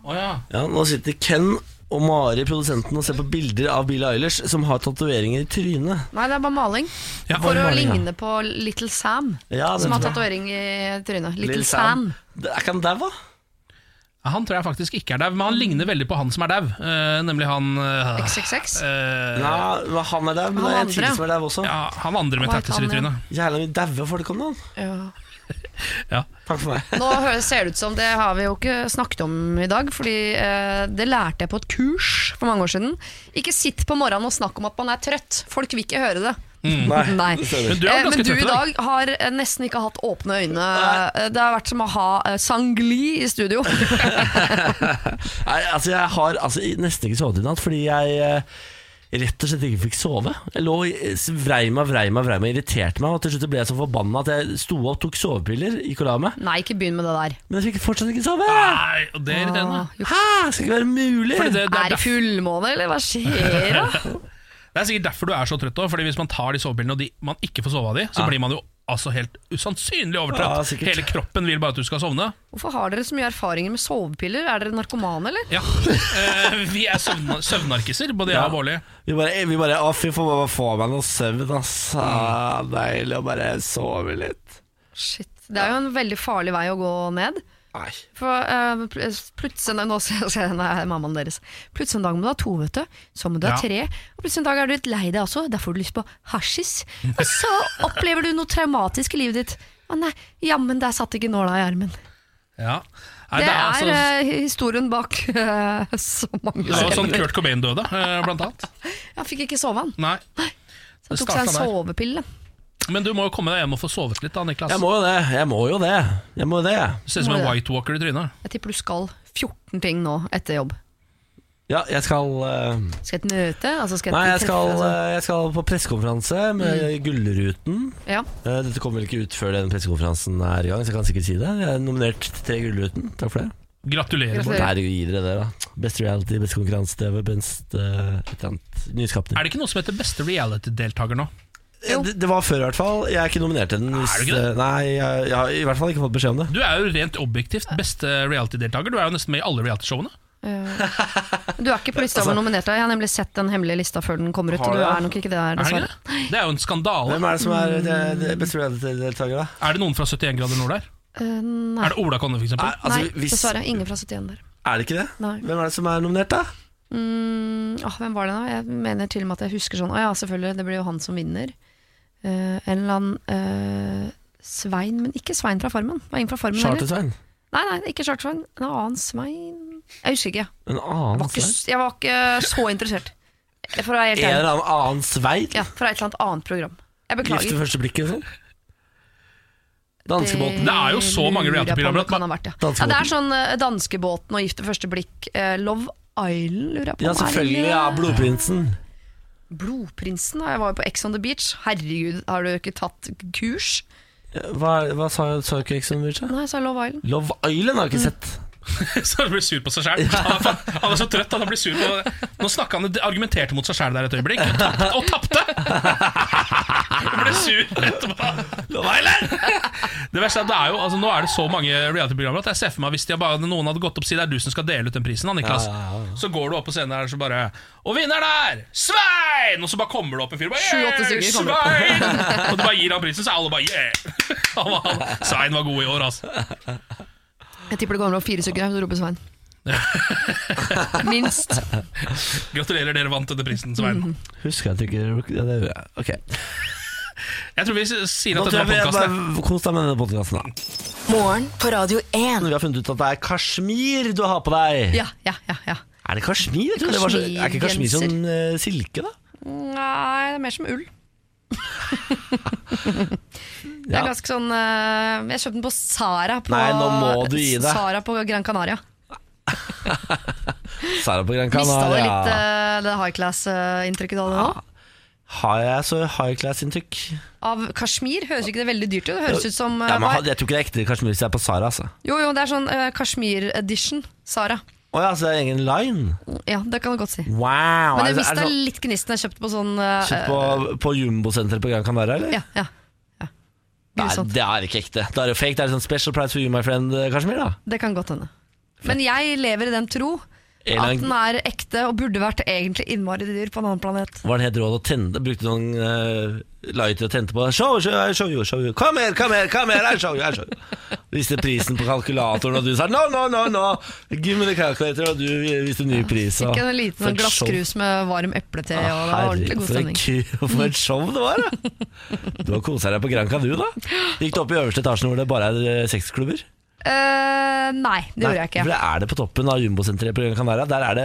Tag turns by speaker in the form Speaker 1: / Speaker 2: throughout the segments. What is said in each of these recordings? Speaker 1: ja.
Speaker 2: Ja, nå sitter Ken og Mari, produsenten, og ser på bilder av Billie Eilish, som har tatoveringer i trynet.
Speaker 3: Nei, det er bare maling.
Speaker 1: Ja,
Speaker 3: For
Speaker 1: bare
Speaker 3: å
Speaker 1: maling, ja.
Speaker 3: ligne på Little Sam,
Speaker 2: Ja, det
Speaker 3: som har
Speaker 2: tror jeg.
Speaker 3: tatovering i trynet. Little,
Speaker 2: Lil
Speaker 3: Sam.
Speaker 2: Det- Er ikke han daua?
Speaker 1: Han tror jeg faktisk ikke er dau, men han ligner veldig på han som er dau. eh, nemlig han eh,
Speaker 3: XXX.
Speaker 1: eh,
Speaker 2: Ja, men han er dau, men det
Speaker 3: Han
Speaker 2: er en
Speaker 3: andre.
Speaker 2: til som er dau også.
Speaker 1: ja, han andre med
Speaker 3: Hva het
Speaker 1: tattiser i
Speaker 3: han, ja?
Speaker 1: trynet.
Speaker 2: Jævla mye daue folk om dagen.
Speaker 3: Ja.
Speaker 2: Takk for meg.
Speaker 3: Nå hø- ser det ut som, det har vi jo ikke snakket om i dag, fordi eh, det lærte jeg på et kurs for mange år siden. Ikke sitt på morgenen og snakk om at man er trøtt. Folk vil ikke høre det. Nei.
Speaker 2: det stemmer.
Speaker 1: Men du er
Speaker 3: Eh,
Speaker 1: jo ganske
Speaker 3: Men du
Speaker 1: trøtt
Speaker 3: i
Speaker 1: i dag.
Speaker 3: dag har eh, nesten ikke hatt åpne øyne. Eh, Det har vært som å ha eh, sangli i studio.
Speaker 2: Nei, altså jeg har altså, nesten ikke sovet i natt fordi jeg eh, rett og slett ikke fikk sove. Jeg lå i- s- vrei meg, vrei meg, vrei meg, irriterte meg, og til slutt ble jeg så forbanna at jeg sto opp, tok sovepiller, gikk og la meg.
Speaker 3: Nei, ikke begynn med det der.
Speaker 2: Men jeg fikk fortsatt ikke sove!
Speaker 1: Nei, og det er irriterende.
Speaker 3: Ah, jo.
Speaker 2: Hæ, skal ikke være mulig!
Speaker 1: Ah! Fordi det, det, er
Speaker 3: Er det
Speaker 1: derf,
Speaker 3: fullmåne, eller hva skjer da?
Speaker 1: det er sikkert derfor du er så trøtt òg. Hvis man tar de sovepillene og de, man ikke får sove av de, så
Speaker 2: Ja.
Speaker 1: blir man jo altså helt usannsynlig
Speaker 2: Ja,
Speaker 1: overtrøtt.
Speaker 2: sikkert.
Speaker 1: Hele kroppen vil bare at du skal sovne.
Speaker 3: Hvorfor har dere så mye erfaringer med sovepiller? Er dere narkomane, eller?
Speaker 1: Ja. Eh, vi er søvna- søvnarkiser, både jeg og Bårli.
Speaker 2: Vi bare, vi bare Å, fy faen, bare få meg noe søvn, ass. Ah, Deilig å bare sove litt.
Speaker 3: Shit. Det er jo en veldig farlig vei å gå ned.
Speaker 2: Nei.
Speaker 3: For eh, pl- plutselig Nei, Nå ser ser jeg nei, mammaen deres. Plutselig en dag må du ha to, vet du. Så må du ha
Speaker 1: Ja.
Speaker 3: tre. Og plutselig en dag er du litt lei deg også. Da får du lyst på hasjis. Og så opplever du noe traumatisk i livet ditt. Å nei, jammen der satt ikke nåla i armen.
Speaker 1: Ja. Nei,
Speaker 3: Det er
Speaker 1: altså-
Speaker 3: eh, historien bak eh, så mange
Speaker 1: Det var jo sånn
Speaker 3: scener.
Speaker 1: Kurt Cobain døde, eh, blant annet.
Speaker 3: Han fikk ikke sove, han.
Speaker 1: Nei.
Speaker 3: Så han
Speaker 1: Det
Speaker 3: tok seg en
Speaker 1: starta der.
Speaker 3: sovepille.
Speaker 1: Men du må jo komme deg hjem og få sovet litt, da, Niklas.
Speaker 2: Jeg må jo det. Jeg må jo det. Jeg må jo det.
Speaker 1: Du ser ut som
Speaker 3: må
Speaker 1: en
Speaker 3: det.
Speaker 1: White Walker i trynet.
Speaker 3: Jeg tipper du skal 14 ting nå etter jobb.
Speaker 2: Ja, jeg skal eh,
Speaker 3: Skal jeg et møte? Altså skal jeg
Speaker 2: Nei, jeg
Speaker 3: et
Speaker 2: skal,
Speaker 3: treffe, altså.
Speaker 2: eh, jeg skal på pressekonferanse med Gullruten.
Speaker 3: Ja.
Speaker 2: Eh, Dette kommer vel ikke ut før den pressekonferansen er i gang, så jeg kan sikkert si det. Jeg er nominert til tre Gullruten. Takk for det.
Speaker 1: Gratulerer. Bård.
Speaker 2: Der
Speaker 3: Gratulerer.
Speaker 2: gir dere det, da. Best reality, best konkurranse-TV, best eh, et eller annet nyskapning.
Speaker 1: Er det ikke noe som heter beste reality-deltaker nå?
Speaker 2: Eh, Det, det var før, i hvert fall. Jeg er ikke nominert til den.
Speaker 1: Er du ikke det?
Speaker 2: Nei, jeg, jeg har i hvert fall ikke fått beskjed om det.
Speaker 1: Du er jo rent objektivt beste reality-deltaker. Du er jo nesten med i alle realityshowene.
Speaker 3: Du er ikke på lista over nominerte. Jeg har nemlig sett den hemmelige lista før den kommer ut.
Speaker 2: Altså, Har
Speaker 3: Og
Speaker 2: du
Speaker 3: du
Speaker 2: det?
Speaker 3: er nok ikke det der,
Speaker 1: Er det, ikke
Speaker 3: dessverre.
Speaker 1: det? det er jo en skandale.
Speaker 2: Hvem er det som er eh, det- det best reality-deltaker, da?
Speaker 1: Er det noen fra 71 grader nord der?
Speaker 3: Eh, nei.
Speaker 1: Er det Ola Konne, for eksempel?
Speaker 2: altså,
Speaker 3: nei,
Speaker 2: hvis-
Speaker 3: dessverre. Ingen fra 71 der.
Speaker 2: Er det ikke det?
Speaker 3: Nei.
Speaker 2: Hvem er det som er nominert, da?
Speaker 3: Mm, åh, hvem var det nå? Jeg mener til og med at jeg husker sånn. Å ja, selvfølgelig. Det blir jo han som vinner. Eh, en eller annen eh, Svein, men ikke Svein fra Farmen. Var ingen fra Farmen heller?
Speaker 2: Charter-Svein.
Speaker 3: Nei, nei, ikke Charter-Svein. En annen Svein Jeg husker ikke.
Speaker 2: En
Speaker 3: Jeg
Speaker 2: annen
Speaker 3: var ikke,
Speaker 2: Svein?
Speaker 3: s- jeg var ikke så interessert. For å være helt
Speaker 2: En
Speaker 3: ærlig.
Speaker 2: eller annen annen Svein?
Speaker 3: Ja, fra et eller annet annet program. Jeg
Speaker 2: Gift ved
Speaker 3: beklager.
Speaker 2: første blikket, eller? Danskebåten.
Speaker 1: Det er jo så mange
Speaker 3: lurer jeg på om
Speaker 1: reality-programmer
Speaker 3: det kan ha vært, ja. ja,
Speaker 2: Danskebåten.
Speaker 3: det er sånn eh, Danskebåten og Gift ved første blikk. eh, Love Island, lurer jeg på.
Speaker 2: Ja,
Speaker 3: om er
Speaker 2: selvfølgelig.
Speaker 3: i-
Speaker 2: Ja, Blodprinsen.
Speaker 3: Blodprinsen, jeg var jo på Ex on the Beach. Herregud, har du ikke tatt kurs?
Speaker 2: Hva, hva sa, sa du ikke Exxon Beach?
Speaker 3: Nei, sa Love Island.
Speaker 2: Love Island har jeg ikke sett.
Speaker 1: Så han blir sur på seg sjæl. Han, er fa- han er så trøtt at han blir sur på Nå snakka han argumenterte mot seg sjæl der et øyeblikk, og tapte! Og tapte. Han ble sur etterpå.
Speaker 2: Love Island!
Speaker 1: Det verste er at det er jo, altså, Nå er det så mange reality-programmer at jeg ser for meg hvis de bare, noen hadde gått opp og sagt det er du som skal dele ut den prisen, da, Niklas.
Speaker 2: Ja, ja,
Speaker 1: Så går du opp på scenen der og så bare Og vinneren er Svein! Og så bare kommer det opp en fyr bare,
Speaker 3: Sju-åtte
Speaker 1: «Yeah,
Speaker 3: stykker kommer
Speaker 1: Svein! Og du bare gir han prisen, så er alle bare yeah! Han var, han, Svein var god i år, altså.
Speaker 3: Jeg tipper det kommer over fire stykker her, så roper Svein. Minst.
Speaker 1: Gratulerer, dere vant denne prisen, Svein.
Speaker 2: Husker jeg at du ikke ja, det gjorde jeg. Ok.
Speaker 1: Jeg tror vi s- sier
Speaker 2: Nå
Speaker 1: at
Speaker 2: tror
Speaker 1: denne
Speaker 2: jeg vi
Speaker 1: podkasten
Speaker 2: bare kos deg med denne podkasten, da.
Speaker 4: Morgen på Radio 1.
Speaker 2: Vi har funnet ut at det er kasjmir du har på deg.
Speaker 3: Ja, ja, ja. ja.
Speaker 2: Er det kasjmir? Jeg trodde det var så- Er ikke kasjmir som eh, silke, da?
Speaker 3: Nei, det er mer som ull. Det
Speaker 2: Ja.
Speaker 3: er ganske sånn eh, Jeg kjøpte den på Sara på,
Speaker 2: Nei, nå må du gi deg.
Speaker 3: Sara på Gran Canaria.
Speaker 2: Sara på Gran
Speaker 3: Mista det litt
Speaker 2: Canaria.
Speaker 3: eh, det high eh, class-inntrykket du hadde nå.
Speaker 2: Har jeg så high class-inntrykk?
Speaker 3: Av kasjmir høres ikke det veldig dyrt ut. Det høres ut som eh,
Speaker 2: Ja, men
Speaker 3: hva-
Speaker 2: ha- jeg tror ikke det er ekte kasjmir hvis det er på Sara, altså.
Speaker 3: Jo, jo, det er sånn eh, kasjmir-edition. Sara.
Speaker 2: Å ja, så det er egen line?
Speaker 3: Ja, det kan du godt si.
Speaker 2: Wow!
Speaker 3: Men
Speaker 2: er det- er
Speaker 3: det
Speaker 2: det
Speaker 3: mista
Speaker 2: sånn-
Speaker 3: litt gnisten jeg kjøpte på sånn eh,
Speaker 2: Kjøpt på, på Jumbo-senteret på Gran Canaria, eller?
Speaker 3: eh, Ja, ja. ja.
Speaker 2: Nei,
Speaker 3: Grusomt.
Speaker 2: det er ikke ekte. Det er jo fake. Det er sånn special price for you, my friend, eh, Kashmir, da.
Speaker 3: Det kan godt hende. Men jeg lever i den tro
Speaker 2: En
Speaker 3: at den
Speaker 2: gang
Speaker 3: er ekte og burde vært egentlig innmari dyr på en annen planet.
Speaker 2: var det helt råd å tenne Brukte noen eh, lighter og tente på Show, show, I show you, show you Kom her, kom her, kom her, I show you, I show you Viste prisen på kalkulatoren Og du sa no, no, no, no Give me the calculator Og du viste ny pris og-
Speaker 3: Fikk en liten sånn
Speaker 2: For et show. Ah,
Speaker 3: glasskrus med varm eplete, og det var ordentlig god
Speaker 2: Herregud,
Speaker 3: stemning.
Speaker 2: for en ku- For et show det var, da. Du har kosa deg på Granca, du, da? Gikk du opp i øverste etasjen hvor det bare er eh, sexklubber?
Speaker 3: Eh, nei, det gjorde jeg ikke.
Speaker 2: For det er det på toppen av jumbosenteret på Gran Canaria. Der er det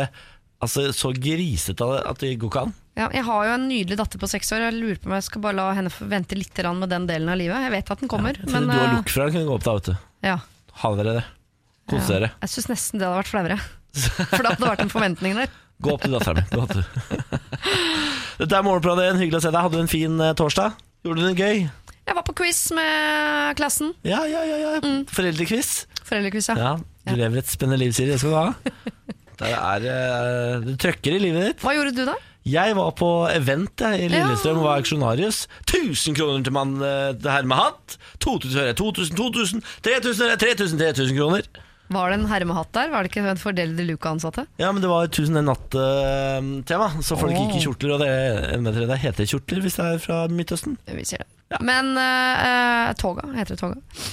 Speaker 2: altså, så grisete at det går ikke an.
Speaker 3: Ja, jeg har jo en nydelig datter på seks år. Jeg lurer på om jeg skal bare la henne få vente litt grann med den delen av livet. Jeg vet at den kommer,
Speaker 2: Til
Speaker 3: men
Speaker 2: du og
Speaker 3: eh,
Speaker 2: lokføreren kunne gå opp da, vet du.
Speaker 3: ja.
Speaker 2: Ha dere det. Kos dere.
Speaker 3: jeg syns nesten det hadde vært flauere. For da hadde det vært en forventning der.
Speaker 2: Gå opp til dattera mi. Gå opp til- Dette er Morgenbladet, en hyggelig å se deg. Hadde du en fin eh, torsdag? Gjorde du det gøy?
Speaker 3: Jeg var på quiz med klassen.
Speaker 2: Ja, ja, ja. ja.
Speaker 3: Mm.
Speaker 2: Foreldrekviss.
Speaker 3: Foreldrequiz, ja.
Speaker 2: Ja, du lever et spennende liv, Siri. Det skal du ha. Der er, eh, du trøkker i livet ditt.
Speaker 3: Hva gjorde du da?
Speaker 2: Jeg var på event jeg, i Lillestrøm og var auksjonarius. 1000 kroner til mann eh, det her med hatt. 2000, hører jeg. 2000, 2000, 3000, 3000, 3000 kroner.
Speaker 3: Var det en herre med hatt der? Var det ikke en fordel de Luca-ansatte?
Speaker 2: Ja, men det var 1000 en natt-tema, så folk gikk i kjortler. Og det, en vet dere, det heter kjortler hvis det er fra Midtøsten.
Speaker 3: Vi sier det. Men eh, eh, toga, heter det toga?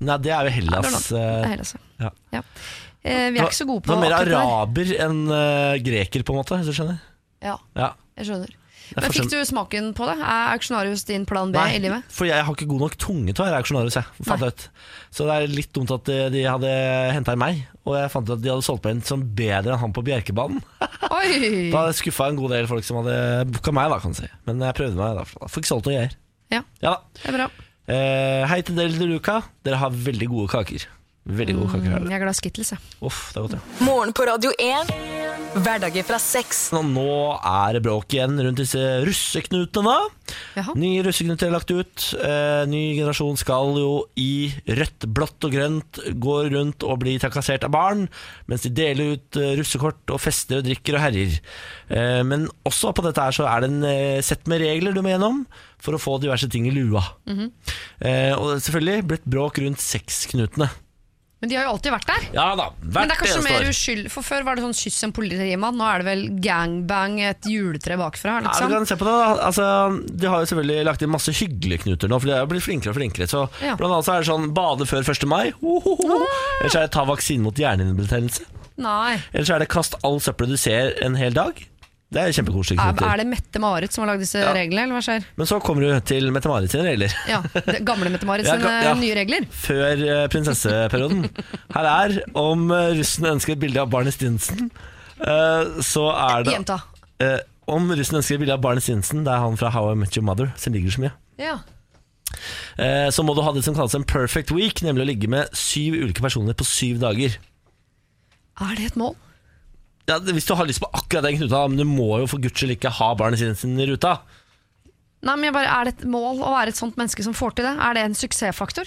Speaker 2: Nei, det er jo
Speaker 3: Ja,
Speaker 2: Hellas.
Speaker 3: det er noe. Det er
Speaker 2: eh,
Speaker 3: hele altså.
Speaker 2: ja.
Speaker 3: Ja. Eh, vi er ikke så gode på
Speaker 2: det var mer
Speaker 3: akkurat det der.
Speaker 2: araber enn eh, greker, på en måte, hvis du skjønner.
Speaker 3: Ja,
Speaker 2: Ja.
Speaker 3: jeg skjønner.
Speaker 2: er
Speaker 3: Men
Speaker 2: forskjell-
Speaker 3: fikk du smaken på det? Er auksjonarius din plan B
Speaker 2: Nei,
Speaker 3: i livet?
Speaker 2: for jeg har ikke god nok tunge til å være auksjonarius. Jeg, fant jeg ut. Så det er litt dumt at de, de hadde henta inn meg, og jeg fant ut at de hadde solgt meg inn som bedre enn han på Bjerkebanen.
Speaker 3: Oi!
Speaker 2: Da hadde jeg skuffa en god del folk som hadde booka meg, da, kan du si. Men jeg prøvde meg, da. Fikk solgt noen greier.
Speaker 3: Ja,
Speaker 2: Ja da.
Speaker 3: det er bra.
Speaker 2: Eh, hei til dere, Luca. Dere har veldig gode kaker. Veldig gode kaker har
Speaker 3: Mm, Jeg
Speaker 2: dere.
Speaker 3: er glad i Skittles, jeg.
Speaker 2: Uff, det er godt, ja.
Speaker 4: Morgen på Radio 1. Hverdager fra seks.
Speaker 2: Nå- Nå er det bråk igjen rundt disse russeknutene, da.
Speaker 3: Jaha.
Speaker 2: Ny russeknut er lagt ut. Eh, ny generasjon skal jo i rødt, blått og grønt gå rundt og bli trakassert av barn, mens de deler ut eh, russekort og fester og drikker og herjer. Eh, men også på dette her så er det en eh, sett med regler du må gjennom for å få diverse ting i lua.
Speaker 3: Mhm.
Speaker 2: eh, og det er selvfølgelig blitt bråk rundt sexknutene.
Speaker 3: Men de har jo alltid vært der.
Speaker 2: Ja da, hvert
Speaker 3: Men det er kanskje
Speaker 2: eneste
Speaker 3: mer
Speaker 2: år.
Speaker 3: uskyld For Før var det sånn kyss en politimann, nå er det vel gangbang et juletre bakfra.
Speaker 2: Ja, du
Speaker 3: Liksom.
Speaker 2: kan se på det da altså, De har jo selvfølgelig lagt inn masse hyggelige knuter nå For de har jo blitt flinkere og flinkere Så
Speaker 3: Ja. Ah.
Speaker 2: blant annet så er det sånn Bade før 1. mai Ohohoho. Ellers er det ta vaksine mot hjernehinnebetennelse
Speaker 3: Nei.
Speaker 2: Ellers er det kast all søppel du ser en hel dag Det er kjempekoselige
Speaker 3: Er,
Speaker 2: knuter
Speaker 3: er det Mette-Marit som har lagd disse reglene, eller hva skjer?
Speaker 2: Men så kommer du til Mette-Marit sine regler
Speaker 3: Ja, det, Gamle Mette-Marit
Speaker 2: Ja,
Speaker 3: sine
Speaker 2: ga- ja.
Speaker 3: nye regler.
Speaker 2: Før eh, prinsesseperioden Her er om eh, russen ønsker et bilde av Barney Stinsen eh, Så er det
Speaker 3: Gjenta.
Speaker 2: eh, Om russen ønsker et bilde av Barney Stinsen Det er han fra How I Met Your Mother Som ligger så mye
Speaker 3: Ja.
Speaker 2: Eh, så må du ha det som kalles en perfect week, nemlig å ligge med syv ulike personer på syv dager.
Speaker 3: Er det et mål?
Speaker 2: Ja, det- hvis du har lyst på akkurat den knuta, men du må jo for guds skyld ikke ha barnet sitt sin i ruta.
Speaker 3: Nei, men jeg bare, Er det et mål å være et sånt menneske som får til det? Er det en suksessfaktor?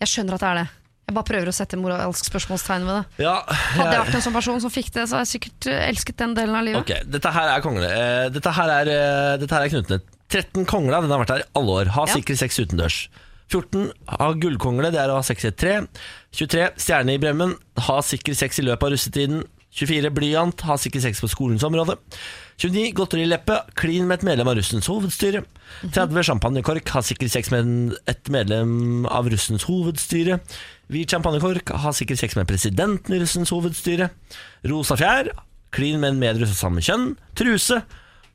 Speaker 3: Jeg skjønner at det er det. Jeg bare prøver å sette moralsk spørsmålstegn ved det.
Speaker 2: Ja,
Speaker 3: Hadde jeg vært en sånn person som fikk det, så hadde jeg sikkert eh, elsket den delen av livet.
Speaker 2: Ok, dette her er konglene. Eh, dette, her er, eh, dette her er knutene. 13 kongler, den har vært her i alle år. Ha
Speaker 3: Ja.
Speaker 2: sikker sex utendørs. 14. Ha gullkongle, det er å ha sex i et tre. 23. Stjerne i bremmen. Ha sikker sex i løpet av russetiden. 24. Blyant. Ha sikker sex på skolens område. 29. Godterileppe. Klin med et medlem av russens hovedstyre. 30. Champagnekork. Ha sikker sex med en- et medlem av russens hovedstyre. Hvit champagnekork. Ha sikker sex med presidenten i russens hovedstyre. Rosa fjær. Klin med en medruss av samme kjønn. Truse.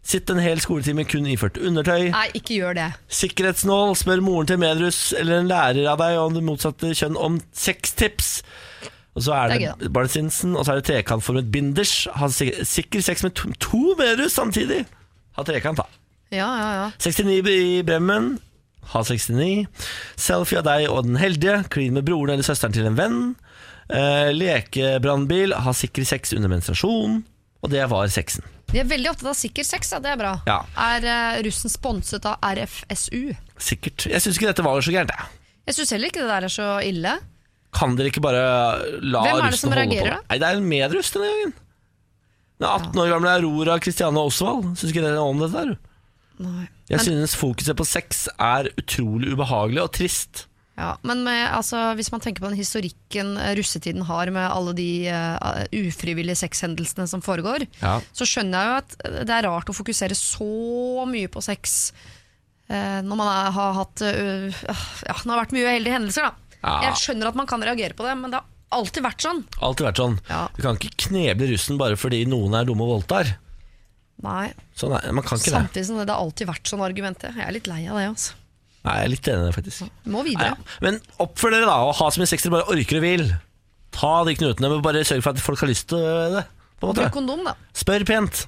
Speaker 2: Sitt en hel skoletime kun iført undertøy.
Speaker 3: Nei, ikke gjør det.
Speaker 2: Sikkerhetsnål. Spør moren til medruss eller en lærer av deg om det motsatte kjønn om sextips. Og så er
Speaker 3: Det er
Speaker 2: det,
Speaker 3: gøy,
Speaker 2: det Barnesinsen, og så er det trekantformet binders. Ha sik- sikker sex med to, to medruss samtidig. Ha trekant, da.
Speaker 3: Ja, ja, ja.
Speaker 2: 69 i Bremmen. Ha 69. Selfie av deg og den heldige. Klin med broren eller søsteren til en venn. Eh, Lekebrannbil. Ha sikker sex under menstruasjon. Og det var sexen.
Speaker 3: De er veldig opptatt av sikker sex, ja. det er bra.
Speaker 2: Ja.
Speaker 3: Er eh, russen sponset av RFSU?
Speaker 2: Sikkert. Jeg syns ikke dette var så gærent. jeg.
Speaker 3: Jeg syns heller ikke det der er så ille.
Speaker 2: Kan dere ikke bare la
Speaker 3: Hvem er det som
Speaker 2: russen holde på?
Speaker 3: reagerer, da?
Speaker 2: Nei, det er en medruss denne gangen. Den 18 år gamle Aurora Christiane Osvald. Syns ikke dere om dette? her?
Speaker 3: Nei.
Speaker 2: Jeg synes fokuset på sex er utrolig ubehagelig og trist.
Speaker 3: Ja, men med, altså, hvis man tenker på den historikken eh, russetiden har med alle de eh, ufrivillige sexhendelsene som foregår,
Speaker 2: Ja.
Speaker 3: så skjønner jeg jo at eh, det er rart å fokusere så mye på sex eh, når man er, har hatt eh, ja, Det har vært mye uheldige hendelser, da.
Speaker 2: Ja.
Speaker 3: Jeg skjønner at man kan reagere på det, men det har alltid vært sånn.
Speaker 2: Alltid vært sånn.
Speaker 3: Ja.
Speaker 2: Du kan ikke kneble russen bare fordi noen er dumme og voldtar.
Speaker 3: Nei,
Speaker 2: Sånn er, man kan ikke det.
Speaker 3: Samtidig som det, det har alltid vært sånn argumentet. Jeg er litt lei av det. altså.
Speaker 2: Nei, jeg er litt enig i det, faktisk.
Speaker 3: Vi Må
Speaker 2: Nei,
Speaker 3: videre.
Speaker 2: men oppfør dere, da, og ha så mye sex dere bare orker og vil. Ta de knutene, men bare sørg for at folk har lyst til det. På en
Speaker 3: Bruk
Speaker 2: måte.
Speaker 3: kondom, da.
Speaker 2: Spør pent.